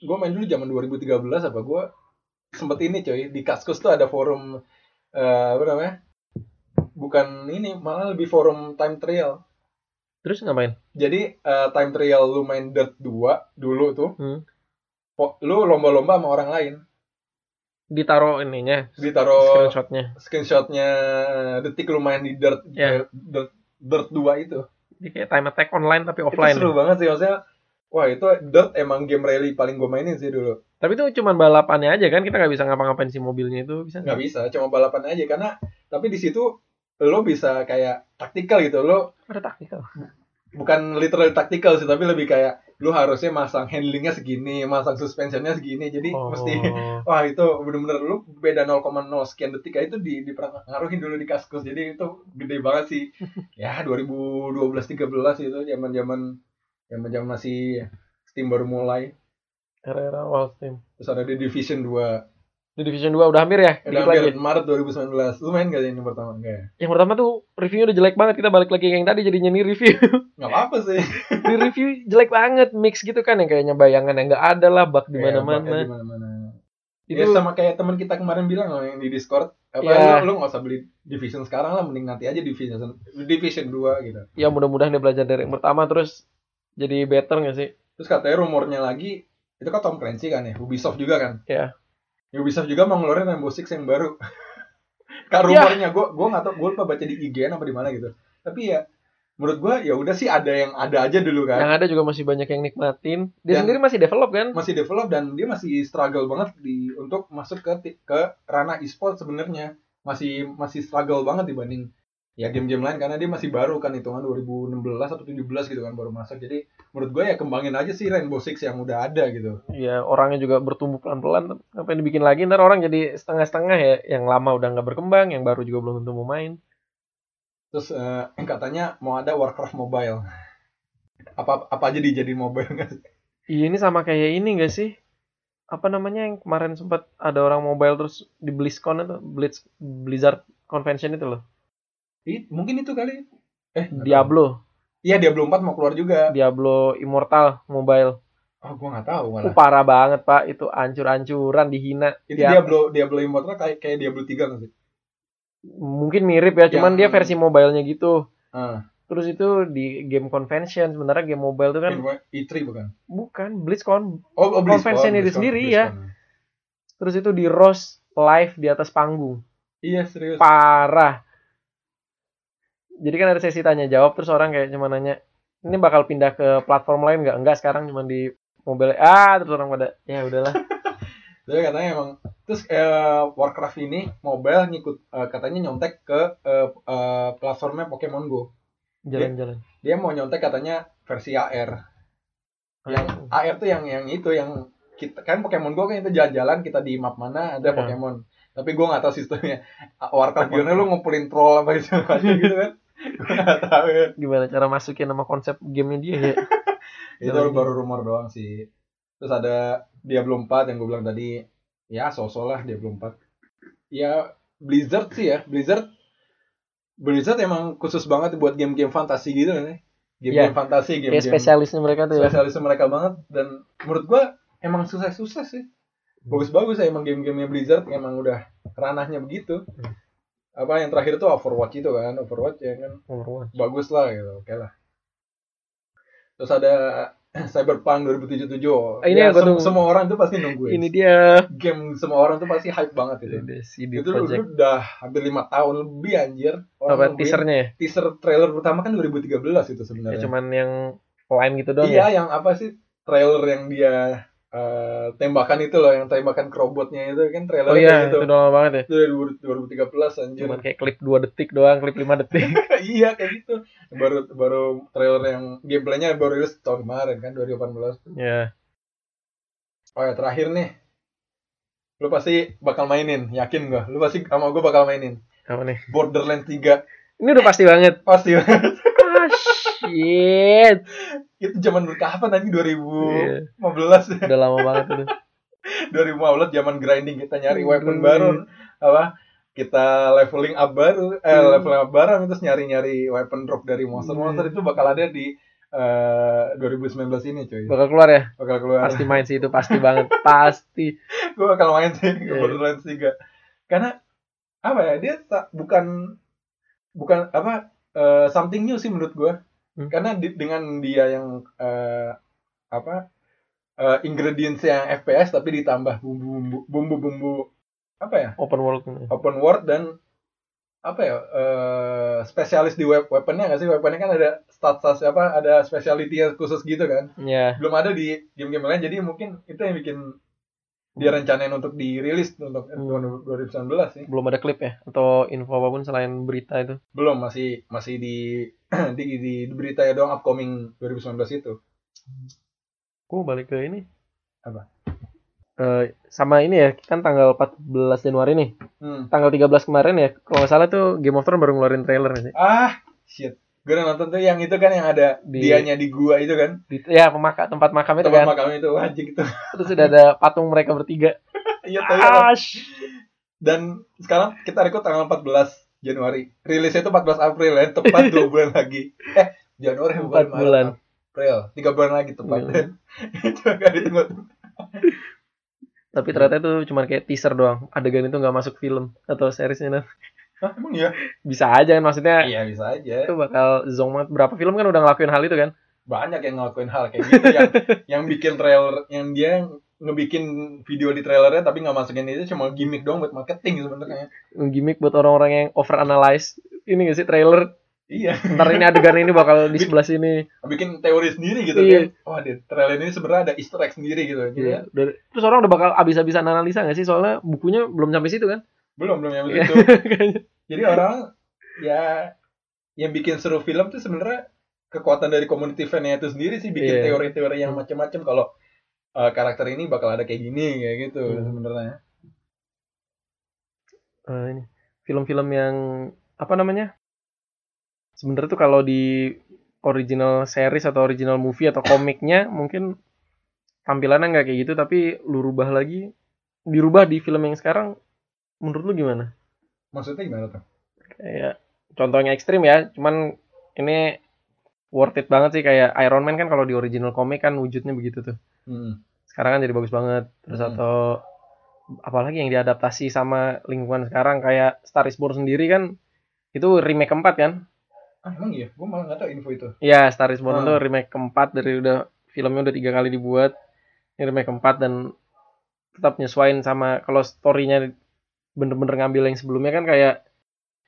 Speaker 1: gue main dulu zaman 2013 apa gue sempet ini coy di Kaskus tuh ada forum eh apa namanya bukan ini malah lebih forum time trial
Speaker 2: Terus ngapain?
Speaker 1: jadi eh, time trial lu main Dirt 2 dulu tuh
Speaker 2: Hmm.
Speaker 1: po- lu lomba-lomba sama orang lain
Speaker 2: Ditaro ininya,
Speaker 1: ditaruh
Speaker 2: screenshotnya.
Speaker 1: screenshotnya detik lu main di Dirt eh,
Speaker 2: Ya.
Speaker 1: Dirt, Dirt 2 itu
Speaker 2: Jadi kayak time attack online tapi
Speaker 1: itu
Speaker 2: offline.
Speaker 1: seru banget sih maksudnya wah itu Dirt emang game rally paling gue mainin sih dulu
Speaker 2: Tapi itu cuman balapannya aja kan, kita nggak bisa ngapa-ngapain si mobilnya itu bisa
Speaker 1: nggak
Speaker 2: nggak?
Speaker 1: bisa cuma balapan aja karena tapi di situ lo bisa kayak taktikal gitu lo
Speaker 2: Ada taktikal.
Speaker 1: bukan literal taktikal sih tapi lebih kayak lo harusnya masang handlingnya segini masang suspensionnya segini jadi
Speaker 2: Oh.
Speaker 1: mesti wah itu bener-bener lo beda 0,0 sekian detik aja itu di dipengaruhin dulu di kaskus jadi itu gede banget sih ya 2012 13 itu zaman zaman zaman zaman masih Steam baru mulai
Speaker 2: Era-era awal Steam.
Speaker 1: terus ada di Division 2
Speaker 2: Di Division 2 udah hampir ya?
Speaker 1: udah hampir
Speaker 2: Dikit lagi.
Speaker 1: Maret 2019 lu main gak yang pertama enggak ya?
Speaker 2: Yang pertama tuh reviewnya udah jelek banget, kita balik lagi ke yang tadi jadinya nih review.
Speaker 1: nggak apa-apa sih
Speaker 2: di review jelek banget, mix gitu kan yang kayaknya bayangan yang nggak ada lah, bug di
Speaker 1: Kayak baknya
Speaker 2: mana-mana.
Speaker 1: di mana-mana.
Speaker 2: Itu
Speaker 1: Ya sama kayak teman kita kemarin bilang loh yang di Discord, apa
Speaker 2: Ya.
Speaker 1: lu, lu gak usah beli division sekarang lah, mending nanti aja division division 2 gitu.
Speaker 2: ya mudah-mudahan dia belajar dari yang pertama terus jadi better nggak sih?
Speaker 1: Terus katanya rumornya lagi itu kan Tom Clancy kan ya, Ubisoft juga kan.
Speaker 2: Ya.
Speaker 1: Ubisoft juga mau ngeluarin Rainbow Six yang baru.
Speaker 2: Iya.
Speaker 1: kan rumornya gua gua nggak tahu, gua lupa baca di IGN apa di mana gitu. Tapi ya menurut gua ya udah sih ada yang ada aja dulu kan.
Speaker 2: Yang ada juga masih banyak yang nikmatin. Dia
Speaker 1: Yang-
Speaker 2: sendiri masih develop kan?
Speaker 1: masih develop dan dia masih struggle banget di untuk masuk ke ti- ke ranah e-sport sebenarnya masih masih struggle banget dibanding ya game-game lain karena dia masih baru kan hitungan 2016 atau 17 gitu kan baru masuk jadi menurut gue ya kembangin aja sih Rainbow Six yang udah ada gitu
Speaker 2: ya orangnya juga bertumbuh pelan-pelan apa yang dibikin lagi ntar orang jadi setengah-setengah ya yang lama udah nggak berkembang yang baru juga belum tentu mau main
Speaker 1: terus eh, katanya mau ada Warcraft Mobile apa apa aja dijadiin mobile nggak sih?
Speaker 2: iya ini sama kayak ini gak sih apa namanya yang kemarin sempat ada orang mobile terus di BlizzCon itu Blizz, Blizzard Convention itu loh
Speaker 1: Ih, mungkin itu kali eh nggak tahu.
Speaker 2: Diablo
Speaker 1: iya Diablo 4 mau keluar juga
Speaker 2: Diablo Immortal mobile
Speaker 1: oh gue nggak tahu malah
Speaker 2: Uh, parah banget pak itu ancur-ancuran dihina
Speaker 1: Itu
Speaker 2: Dia-
Speaker 1: Diablo Diablo Immortal kayak kayak Diablo 3 nggak sih?
Speaker 2: mungkin mirip ya
Speaker 1: Yang-
Speaker 2: cuman dia versi mobilenya gitu
Speaker 1: Ah,
Speaker 2: terus itu di game convention sebenarnya game mobile tuh kan
Speaker 1: Info- E3 E bukan?
Speaker 2: bukan BlizzCon
Speaker 1: Oh, oh
Speaker 2: Convention ini sendiri, ya. terus itu di roast live di atas panggung
Speaker 1: Iya serius.
Speaker 2: parah jadi kan ada sesi tanya jawab terus orang kayak cuma nanya ini bakal pindah ke platform lain nggak enggak sekarang cuma di mobile ah terus orang pada ya udahlah
Speaker 1: Jadi katanya emang terus eh, Warcraft ini mobile ngikut eh, katanya nyontek ke eh, eh, platformnya Pokemon Go.
Speaker 2: jalan-jalan
Speaker 1: Dia mau nyontek katanya versi AR. Yang
Speaker 2: Ah.
Speaker 1: AR tuh yang yang itu yang kita kan Pokemon Go kan itu jalan-jalan kita di map mana ada
Speaker 2: Ya.
Speaker 1: Pokemon. Tapi gue nggak tahu sistemnya. Warcraft gimana lu ngumpulin troll apa gitu gitu kan? Gue nggak tahu ya.
Speaker 2: gimana cara masukin nama konsep gamenya
Speaker 1: Iya,
Speaker 2: dia ya
Speaker 1: itu
Speaker 2: Dalam
Speaker 1: baru rumor doang sih terus ada Diablo 4 yang gue bilang tadi ya sosok lah Diablo 4 ya Blizzard sih ya Blizzard Blizzard emang khusus banget buat game-game fantasi gitu nih game-game
Speaker 2: Iya.
Speaker 1: fantasi game-game
Speaker 2: kayak spesialisnya mereka tuh ya
Speaker 1: spesialis mereka banget dan menurut gue emang sukses-sukses sih
Speaker 2: Hmm.
Speaker 1: bagus-bagus ya emang game-gamenya Blizzard emang udah ranahnya begitu
Speaker 2: Hmm.
Speaker 1: apa yang terakhir tuh Overwatch itu kan Overwatch ya kan
Speaker 2: Overwatch.
Speaker 1: bagus lah gitu oke lah terus ada eh, Cyberpunk 2077
Speaker 2: Eh, Ini yang gua
Speaker 1: Ya, sem-
Speaker 2: tunggu.
Speaker 1: semua orang tuh pasti nungguin
Speaker 2: ini dia
Speaker 1: game semua orang tuh pasti hype banget itu
Speaker 2: Ini CD
Speaker 1: itu
Speaker 2: Project
Speaker 1: dulu udah hampir lima tahun lebih anjir orang
Speaker 2: apa
Speaker 1: nungguin.
Speaker 2: teasernya ya?
Speaker 1: teaser trailer pertama kan 2013 itu
Speaker 2: ya
Speaker 1: sebenarnya
Speaker 2: cuman yang lain gitu doang
Speaker 1: iya
Speaker 2: ya
Speaker 1: yang apa sih trailer yang dia eh, tembakan itu loh yang tembakan ke robotnya itu kan trailer
Speaker 2: oh iya itu
Speaker 1: itu,
Speaker 2: udah lama banget ya
Speaker 1: Itu 2013 anjir
Speaker 2: cuman kayak klip 2 detik doang klip 5 detik
Speaker 1: iya kayak gitu baru baru trailer yang gameplaynya baru rilis tahun kemarin kan 2018
Speaker 2: ya
Speaker 1: oh ya terakhir nih lu pasti bakal mainin yakin gua lu pasti sama gua bakal mainin
Speaker 2: apa nih
Speaker 1: Borderlands 3
Speaker 2: ini udah pasti banget
Speaker 1: pasti
Speaker 2: ah shit
Speaker 1: itu zaman dulu kapan anjing 2015
Speaker 2: Iya, udah lama banget itu
Speaker 1: 2015 zaman grinding kita nyari
Speaker 2: Hmm.
Speaker 1: weapon baru apa kita leveling up baru eh
Speaker 2: Hmm.
Speaker 1: leveling up barang terus nyari-nyari weapon drop dari monster-monster
Speaker 2: Hmm.
Speaker 1: itu bakal ada di eh, 2019 ini cuy
Speaker 2: bakal keluar ya
Speaker 1: bakal keluar
Speaker 2: pasti main sih itu pasti banget pasti
Speaker 1: gue bakal main sih
Speaker 2: Iya.
Speaker 1: Borderlands 3 karena apa ya dia tak bukan bukan apa eh, something new sih menurut gue
Speaker 2: Hmm.
Speaker 1: karena di- dengan dia yang eh, apa eh, ingredients yang FPS tapi ditambah bumbu-bumbu bumbu-bumbu apa ya
Speaker 2: open world
Speaker 1: open world dan apa ya eh, spesialis di web weaponnya nggak sih weaponnya kan ada stats apa ada specialty khusus gitu kan
Speaker 2: ya
Speaker 1: belum ada di game-game lain jadi mungkin itu yang bikin dia rencanain untuk dirilis untuk
Speaker 2: Hmm.
Speaker 1: 2019 sih
Speaker 2: belum ada klip ya atau info apapun selain berita itu
Speaker 1: belum masih masih di di, di, di berita ya doang upcoming 2019 itu
Speaker 2: aku balik ke ini
Speaker 1: Apa?
Speaker 2: Eh, sama ini ya kan tanggal 14 Januari nih
Speaker 1: hmm.
Speaker 2: tanggal 13 kemarin ya kalau nggak salah tuh Game of Thrones baru ngeluarin trailer nih
Speaker 1: ah shit gue udah nonton tuh yang itu kan yang ada
Speaker 2: Di-
Speaker 1: dianya di gua itu kan
Speaker 2: Di- ya pemaka tempat makam itu
Speaker 1: tempat
Speaker 2: kan
Speaker 1: makamnya itu wajib gitu
Speaker 2: terus udah ada patung mereka bertiga
Speaker 1: iya tahu ya, Rob.
Speaker 2: ah shit.
Speaker 1: dan sekarang kita record tanggal 14 Januari rilisnya itu 14 April ya tepat 2 bulan lagi eh Januari bukan
Speaker 2: Empat
Speaker 1: Maret,
Speaker 2: bulan. Iya.
Speaker 1: April 3 bulan lagi tepatnya itu agak ditunggu
Speaker 2: tapi ternyata itu cuma kayak teaser doang adegan itu nggak masuk film atau seriesnya Nat.
Speaker 1: Hah, emang ya?
Speaker 2: bisa aja kan maksudnya
Speaker 1: Iya bisa aja.
Speaker 2: itu bakal zong banget berapa film kan udah ngelakuin hal itu kan
Speaker 1: Banyak yang ngelakuin hal kayak gitu yang yang bikin trailer, yang dia ngebikin video di trailernya tapi nggak masukin itu cuma gimmick doang buat marketing sebenarnya.
Speaker 2: gimmick buat orang-orang yang over analyze ini gak sih trailer
Speaker 1: Iya.
Speaker 2: ntar ini adegan ini bakal di sebelah sini
Speaker 1: Bikin teori sendiri gitu
Speaker 2: Iya.
Speaker 1: kan. Wah, di trailer ini sebenarnya ada Easter egg sendiri gitu. Jadi,
Speaker 2: Iya. Udah- terus orang udah bakal abis-abisan analisa gak sih soalnya bukunya belum sampai situ kan
Speaker 1: Belum belum yang
Speaker 2: Iya.
Speaker 1: itu. Jadi orang ya yang bikin seru film tuh sebenarnya kekuatan dari community fan-nya itu sendiri sih bikin
Speaker 2: Iya.
Speaker 1: teori-teori yang
Speaker 2: Hmm.
Speaker 1: macam-macam kalau eh, karakter ini bakal ada kayak gini kayak gitu
Speaker 2: Hmm.
Speaker 1: sebenarnya.
Speaker 2: eh, ini film-film yang apa namanya sebenarnya tuh kalau di original series atau original movie atau komiknya mungkin tampilannya nggak kayak gitu tapi lu rubah lagi dirubah di film yang sekarang menurut lu gimana
Speaker 1: Maksudnya gimana tuh?
Speaker 2: kayak Iya. contohnya ekstrim ya cuman ini worth it banget sih kayak Iron Man kan kalau di original komik kan wujudnya begitu tuh
Speaker 1: Hmm.
Speaker 2: sekarang kan jadi bagus banget terus
Speaker 1: Hmm.
Speaker 2: atau apalagi yang diadaptasi sama lingkungan sekarang kayak Star is Born sendiri kan itu remake keempat kan
Speaker 1: Ah emang iya, gue malah nggak tahu info itu.
Speaker 2: ya Star is
Speaker 1: Hmm.
Speaker 2: Born itu remake keempat dari udah filmnya udah tiga kali dibuat ini remake keempat dan tetap nyesuaiin sama kalau storynya bener-bener ngambil yang sebelumnya kan kayak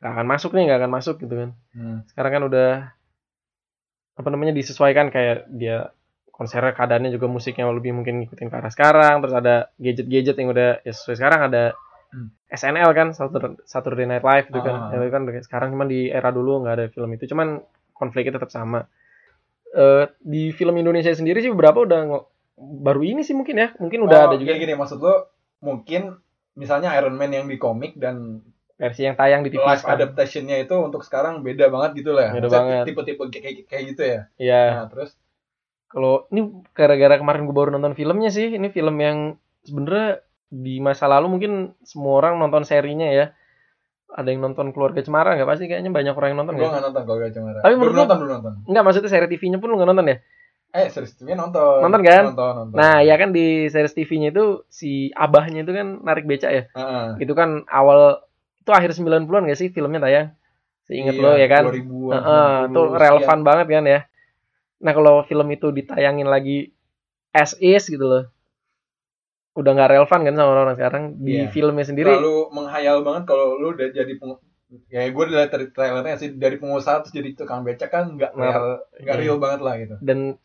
Speaker 2: nggak akan masuk nih nggak akan masuk gitu kan
Speaker 1: Hmm.
Speaker 2: sekarang kan udah apa namanya disesuaikan kayak dia konsernya keadaannya juga musiknya lebih mungkin ngikutin ke arah sekarang terus ada gadget-gadget yang udah ya sesuai sekarang ada
Speaker 1: Hmm.
Speaker 2: SNL kan Satur- Saturday Night Live itu
Speaker 1: Ah.
Speaker 2: kan Ya, itu kan udah- sekarang cuman di era dulu nggak ada film itu cuman konfliknya tetap sama Eh, di film Indonesia sendiri sih beberapa udah ngo- baru ini sih mungkin ya mungkin udah
Speaker 1: Oh,
Speaker 2: ada juga
Speaker 1: gini maksud lo mungkin misalnya Iron Man yang di komik dan
Speaker 2: versi yang tayang di TV
Speaker 1: live
Speaker 2: sekarang.
Speaker 1: adaptation-nya itu untuk sekarang beda banget gitu lah. ya.
Speaker 2: kan? Beda
Speaker 1: Maksudnya
Speaker 2: banget.
Speaker 1: Tipe-tipe kayak- kayak kayak gitu ya.
Speaker 2: Iya.
Speaker 1: Nah, terus
Speaker 2: kalau ini gara-gara kemarin gue baru nonton filmnya sih ini film yang sebenarnya di masa lalu mungkin semua orang nonton serinya ya ada yang nonton keluarga cemara nggak pasti kayaknya banyak orang yang nonton
Speaker 1: gue
Speaker 2: nggak
Speaker 1: nggak nonton kalau gak cemara.
Speaker 2: Tapi
Speaker 1: Gua
Speaker 2: menurut
Speaker 1: belum
Speaker 2: lo-
Speaker 1: nonton belum nonton.
Speaker 2: nggak maksudnya seri TV-nya pun lu nggak nonton ya
Speaker 1: Eh series TV nonton.
Speaker 2: Nonton kan?
Speaker 1: Nonton nonton.
Speaker 2: nah ya kan di series TV-nya itu si abahnya itu kan narik beca ya
Speaker 1: Heeh.
Speaker 2: itu kan awal itu akhir 90-an gak sih filmnya tayang seingat
Speaker 1: Iya,
Speaker 2: lo ya kan
Speaker 1: 2000-an,
Speaker 2: Heeh,
Speaker 1: 90-an,
Speaker 2: itu relevan banget kan ya. Nah kalau film itu ditayangin lagi as is gitu loh, udah nggak relevan kan sama orang-orang sekarang di
Speaker 1: Iya.
Speaker 2: filmnya sendiri.
Speaker 1: Terlalu menghayal banget kalau lu udah jadi pengu- ya gue lihat dari trailernya sih dari pengusaha terus jadi tukang becak kan nggak
Speaker 2: Nah,
Speaker 1: real nggak
Speaker 2: iya.
Speaker 1: real banget lah gitu.
Speaker 2: Dan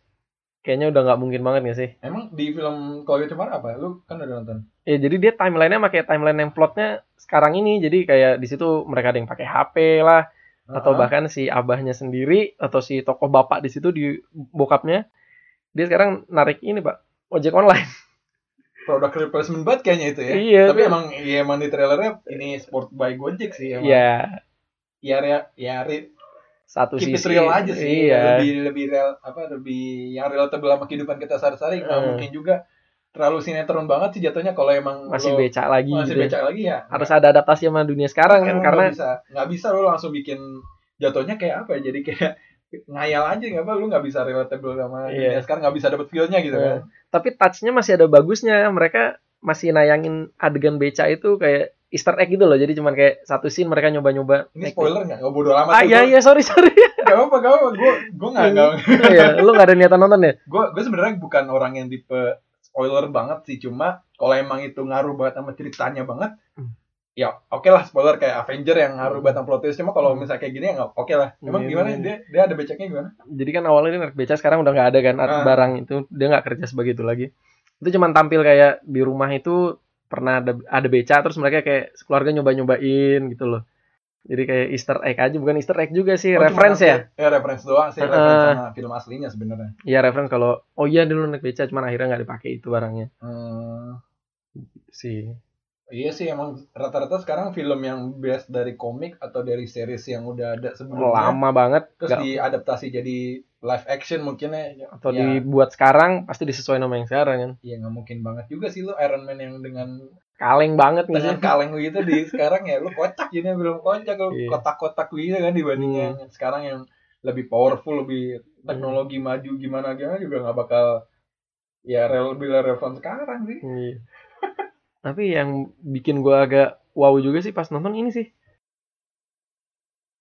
Speaker 2: kayaknya udah nggak mungkin banget gak sih?
Speaker 1: Emang di film kalau gak cemara apa? Lu kan udah nonton.
Speaker 2: Ya jadi dia timelinenya sama kayak timeline yang plotnya sekarang ini. Jadi kayak di situ mereka ada yang pakai HP lah, atau
Speaker 1: Heeh.
Speaker 2: bahkan si abahnya sendiri atau si tokoh bapak di situ di bokapnya, dia sekarang narik ini pak ojek online.
Speaker 1: produk replacement banget kayaknya itu ya.
Speaker 2: Iya,
Speaker 1: Tapi
Speaker 2: tuh.
Speaker 1: emang ya emang di trailernya ini sport by Gojek sih emang.
Speaker 2: Iya.
Speaker 1: Ya re- ya re-
Speaker 2: Satu
Speaker 1: keep it
Speaker 2: sisi.
Speaker 1: real aja sih.
Speaker 2: Iya.
Speaker 1: Lebih lebih real apa lebih yang relatable sama kehidupan kita sehari-hari. Nggak
Speaker 2: Hmm.
Speaker 1: mungkin juga terlalu sinetron banget sih jatuhnya kalau emang
Speaker 2: masih
Speaker 1: lo
Speaker 2: beca lagi
Speaker 1: masih
Speaker 2: gitu ya.
Speaker 1: becak Iya, lagi ya.
Speaker 2: harus ada adaptasi sama dunia sekarang kan
Speaker 1: Emang
Speaker 2: karena
Speaker 1: nggak bisa nggak bisa lo langsung bikin jatuhnya kayak apa ya, jadi kayak ngayal aja nggak apa lu nggak bisa relatable sama
Speaker 2: Iya.
Speaker 1: dunia sekarang nggak bisa dapet feelnya gitu kan
Speaker 2: tapi touchnya masih ada bagusnya mereka masih nayangin adegan beca itu kayak Easter egg gitu loh jadi cuman kayak satu scene mereka nyoba-nyoba
Speaker 1: ini
Speaker 2: naik-
Speaker 1: spoiler nggak nggak oh, bodo amat
Speaker 2: ah iya iya sorry sorry
Speaker 1: gak apa gak apa gue gue nggak nggak
Speaker 2: Oh, iya. lu nggak ada niatan nonton ya
Speaker 1: gue gue sebenarnya bukan orang yang tipe spoiler banget sih cuma kalau emang itu ngaruh banget sama ceritanya banget
Speaker 2: Hmm.
Speaker 1: ya oke lah spoiler kayak Avenger yang ngaruh banget sama plot twist cuma kalau
Speaker 2: Hmm.
Speaker 1: misalnya kayak gini ya nggak oke lah emang
Speaker 2: Iya,
Speaker 1: gimana
Speaker 2: iya.
Speaker 1: dia dia ada becaknya gimana
Speaker 2: jadi kan awalnya dia narik beca sekarang udah nggak ada kan
Speaker 1: Ah.
Speaker 2: barang itu dia nggak kerja sebagai itu lagi itu cuman tampil kayak di rumah itu pernah ada ada beca terus mereka kayak keluarga nyoba-nyobain gitu loh jadi kayak Easter egg aja bukan Easter egg juga sih
Speaker 1: Oh, cuma
Speaker 2: reference ya Eh.
Speaker 1: nampil- ya reference doang sih reference
Speaker 2: Heeh.
Speaker 1: sama film aslinya sebenarnya
Speaker 2: Iya reference kalau oh iya dulu naik beca cuman akhirnya nggak dipakai itu barangnya
Speaker 1: Hmm,
Speaker 2: sih.
Speaker 1: iya sih emang rata-rata sekarang film yang best dari komik atau dari series yang udah ada sebelumnya
Speaker 2: Lama banget
Speaker 1: terus
Speaker 2: nggak-
Speaker 1: diadaptasi jadi live action mungkin ya
Speaker 2: atau
Speaker 1: Ya,
Speaker 2: dibuat sekarang pasti disesuaikan sama yang sekarang kan.
Speaker 1: ya nggak mungkin banget juga sih lu Iron Man yang dengan
Speaker 2: Kaleng banget nih sih.
Speaker 1: dengan kaleng gitu di sekarang ya lu kocak jadi belum kocak lu
Speaker 2: Iya. Hmm.
Speaker 1: kotak-kotak gitu kan dibanding yang sekarang yang lebih powerful lebih teknologi maju gimana gimana juga nggak bakal ya rel lebih relevan sekarang sih
Speaker 2: Iya. Tapi yang bikin gua agak wow juga sih pas nonton ini sih.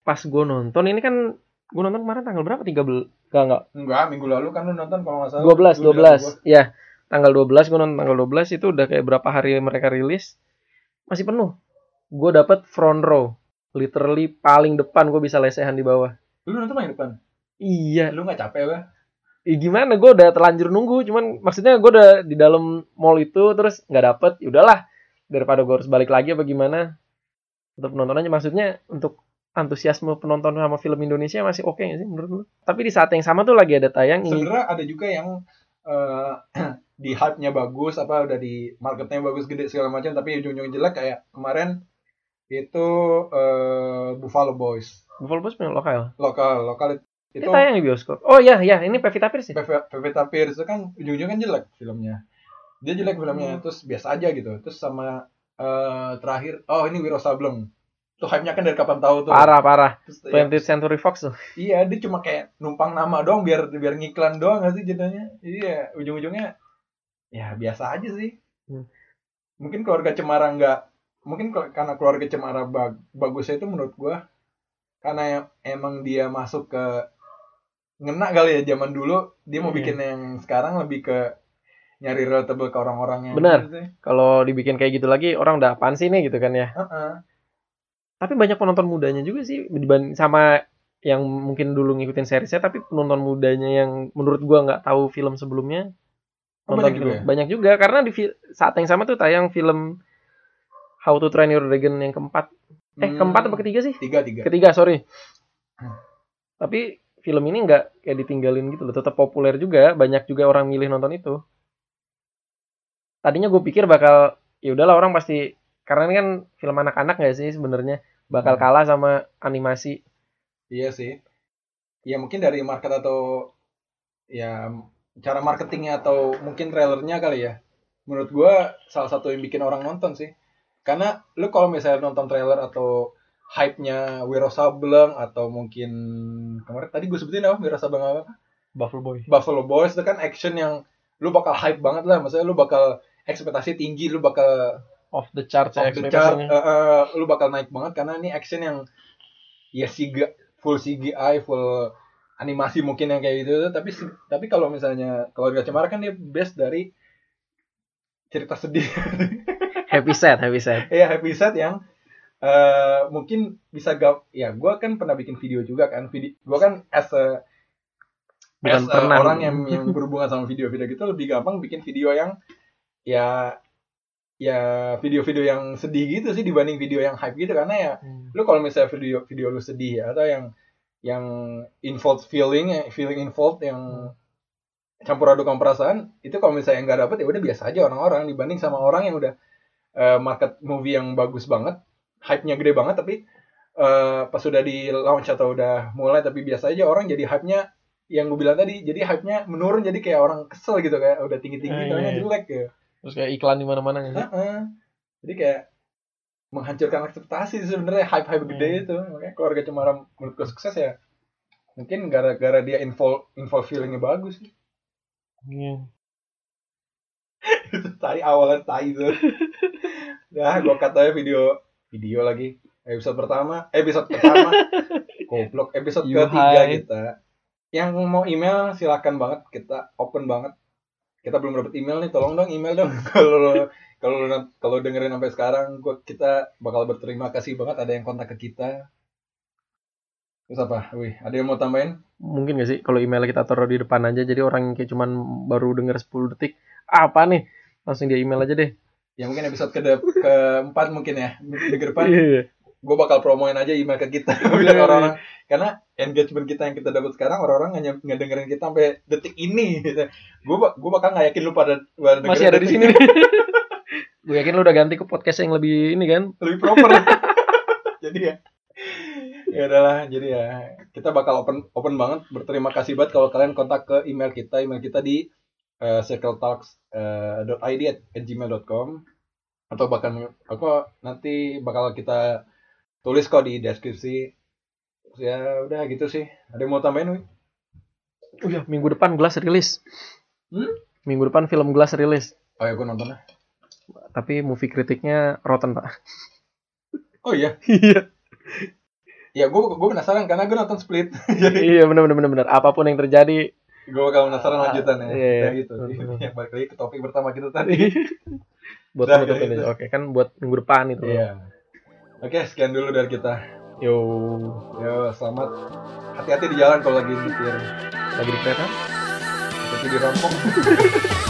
Speaker 2: Pas gua nonton ini kan gua nonton kemarin tanggal berapa? 13 enggak enggak
Speaker 1: enggak minggu lalu kan lu nonton kalau nggak salah
Speaker 2: 12
Speaker 1: Lu bilang gua,
Speaker 2: 12. Ya, tanggal 12 gua nonton tanggal 12 itu udah kayak berapa hari mereka rilis masih penuh. Gua dapet front row. Literally paling depan gue bisa lesehan di bawah.
Speaker 1: lu nonton paling depan
Speaker 2: Iya,
Speaker 1: lu nggak capek apa
Speaker 2: Ih, gimana gue udah terlanjur nunggu cuman maksudnya gue udah di dalam mall itu terus nggak dapet ya udahlah daripada gue harus balik lagi apa gimana tetap nonton aja maksudnya untuk antusiasme penonton sama film Indonesia masih oke nggak sih menurut lu? Tapi di saat yang sama tuh lagi ada tayang ini.
Speaker 1: Sebenarnya ada juga yang eh, di hype-nya bagus apa udah di marketnya bagus gede segala macam tapi ujung-ujung jelek kayak kemarin itu eh, Buffalo Boys
Speaker 2: Buffalo Boys punya lokal.
Speaker 1: lokal lokal itu
Speaker 2: Ini tayang di bioskop. Oh iya iya ini Pevita Pierce ya?
Speaker 1: Pepe- Pevita Pierce itu kan ujung-ujungnya kan jelek filmnya. Dia jelek filmnya,
Speaker 2: Hmm.
Speaker 1: terus biasa aja gitu. Terus sama eh, terakhir, oh ini Wiro Sableng. Tuh hype-nya kan dari kapan tahu tuh.
Speaker 2: Parah parah.
Speaker 1: Terus, ya,
Speaker 2: 20th Century Fox tuh.
Speaker 1: iya, dia cuma kayak numpang nama doang biar biar ngiklan doang gak sih jadinya. Jadi ya ujung-ujungnya ya biasa aja sih.
Speaker 2: Hmm.
Speaker 1: Mungkin keluarga Cemara nggak mungkin kelo- karena keluarga Cemara bag- bagusnya itu menurut gua karena ya- emang dia masuk ke ngena kali ya zaman dulu dia mau
Speaker 2: Iya.
Speaker 1: bikin yang sekarang lebih ke nyari relatable ke orang-orang yang
Speaker 2: Benar.
Speaker 1: gitu sih.
Speaker 2: Kalau dibikin kayak gitu lagi orang udah apaan sih nih gitu kan ya.
Speaker 1: Heeh.
Speaker 2: Tapi banyak penonton mudanya juga sih dibanding sama yang mungkin dulu ngikutin seriesnya tapi penonton mudanya yang menurut gua nggak tahu film sebelumnya
Speaker 1: Oh,
Speaker 2: nonton
Speaker 1: banyak
Speaker 2: film.
Speaker 1: juga ya?
Speaker 2: Banyak juga karena di fi- saat yang sama tuh tayang film How to Train Your Dragon yang keempat. Eh
Speaker 1: Hmm,
Speaker 2: keempat apa ketiga sih?
Speaker 1: tiga tiga
Speaker 2: Ketiga sorry.
Speaker 1: Hmm.
Speaker 2: Tapi film ini nggak kayak ditinggalin gitu loh, tetap populer juga, banyak juga orang milih nonton itu. Tadinya gue pikir bakal ya udahlah orang pasti karena ini kan film anak-anak nggak sih sebenarnya bakal
Speaker 1: Hmm.
Speaker 2: kalah sama animasi.
Speaker 1: iya sih ya mungkin dari market atau ya cara marketingnya atau mungkin trailernya kali ya menurut gua salah satu yang bikin orang nonton sih karena lu kalau misalnya nonton trailer atau hype-nya Wiro Sableng atau mungkin kemarin tadi gue sebutin apa Wiro Sableng apa
Speaker 2: Buffalo Boy.
Speaker 1: Buffalo Boys itu kan action yang lu bakal hype banget lah, maksudnya lu bakal ekspektasi tinggi, lu bakal
Speaker 2: Off the charts
Speaker 1: off
Speaker 2: ya,
Speaker 1: the chart,
Speaker 2: ekspektasinya.
Speaker 1: eh, eh, lu bakal naik banget karena ini action yang ya siga, full CGI, full animasi mungkin yang kayak gitu, tapi se- tapi kalau misalnya keluarga cemara kan dia base dari cerita sedih,
Speaker 2: Happy set, happy set.
Speaker 1: ya happy set yang eh, mungkin bisa gak ya gua kan pernah bikin video juga kan video gua kan as a
Speaker 2: Bukan
Speaker 1: As, uh,
Speaker 2: pernah.
Speaker 1: orang yang yang berhubungan sama video-video gitu lebih gampang bikin video yang ya ya video-video yang sedih gitu sih dibanding video yang hype gitu karena ya
Speaker 2: Hmm.
Speaker 1: lu kalau misalnya video video lu sedih ya, atau yang yang involved feeling eh, feeling involved yang campur aduk sama perasaan itu kalau misalnya nggak dapet ya udah biasa aja orang-orang dibanding sama orang yang udah eh, market movie yang bagus banget hype-nya gede banget tapi eh, pas sudah di launch atau udah mulai tapi biasa aja orang jadi hype-nya yang gue bilang tadi jadi hype-nya menurun jadi kayak orang kesel gitu kayak udah tinggi-tinggi
Speaker 2: Ah,
Speaker 1: tapi
Speaker 2: iya.
Speaker 1: jelek ya
Speaker 2: Terus kayak iklan di mana-mana nggak sih?
Speaker 1: Heeh. Jadi kayak menghancurkan ekspektasi sih sebenarnya hype-hype gede
Speaker 2: Hmm.
Speaker 1: itu. Makanya keluarga Cemara menurut gue sukses ya. Mungkin gara-gara dia info info feelingnya bagus sih.
Speaker 2: Iya.
Speaker 1: Itu tadi awalnya tai itu. Nah, gue katanya video video lagi episode pertama, episode pertama. Goblok episode
Speaker 2: You
Speaker 1: ketiga
Speaker 2: hide.
Speaker 1: kita. Yang mau email silakan banget kita open banget. Kita belum dapat email nih, tolong dong email dong kalau kalau lu- kalau dengerin sampai sekarang gua kita bakal berterima kasih banget ada yang kontak ke kita terus apa wih ada yang mau tambahin
Speaker 2: mungkin gak sih kalau email kita taruh di depan aja jadi orang yang kayak cuman baru denger 10 detik "Ah, apa nih langsung dia email aja deh
Speaker 1: ya mungkin episode ke keempat mungkin ya di ke depan
Speaker 2: Iya.
Speaker 1: gue bakal promoin aja email ke kita biar orang-orang karena engagement kita yang kita dapat sekarang orang-orang hanya nggak dengerin kita sampai detik ini gitu. gue gue bakal nggak yakin lu pada pada dengerin
Speaker 2: masih ada di
Speaker 1: detik
Speaker 2: sini gue yakin lu udah ganti ke podcast yang lebih ini kan
Speaker 1: lebih proper jadi ya ya adalah jadi ya kita bakal open open banget berterima kasih banget kalau kalian kontak ke email kita email kita di eh, circletalks.id at gmail.com atau bahkan aku nanti bakal kita tulis kok di deskripsi Terus ya udah gitu sih ada yang mau tambahin Wi?
Speaker 2: oh iya minggu depan Glass rilis
Speaker 1: Hmm?
Speaker 2: minggu depan film Glass rilis
Speaker 1: oh ya gue nontonnya
Speaker 2: tapi movie kritiknya rotten pak
Speaker 1: oh iya
Speaker 2: iya
Speaker 1: ya gue gue penasaran karena gue nonton split jadi
Speaker 2: iya bener bener bener bener apapun yang terjadi
Speaker 1: gue bakal penasaran lanjutannya
Speaker 2: Iya, iya.
Speaker 1: Nah, gitu ya balik lagi ke topik pertama kita tadi
Speaker 2: buat
Speaker 1: Udah,
Speaker 2: penutupin
Speaker 1: gitu.
Speaker 2: aja. oke kan buat minggu depan itu
Speaker 1: Iya. Oke, sekian dulu dari kita.
Speaker 2: gitu. yo
Speaker 1: Yo, selamat. Hati-hati di jalan kalau lagi nyetir.
Speaker 2: lagi di kereta
Speaker 1: Hati-hati di rampok.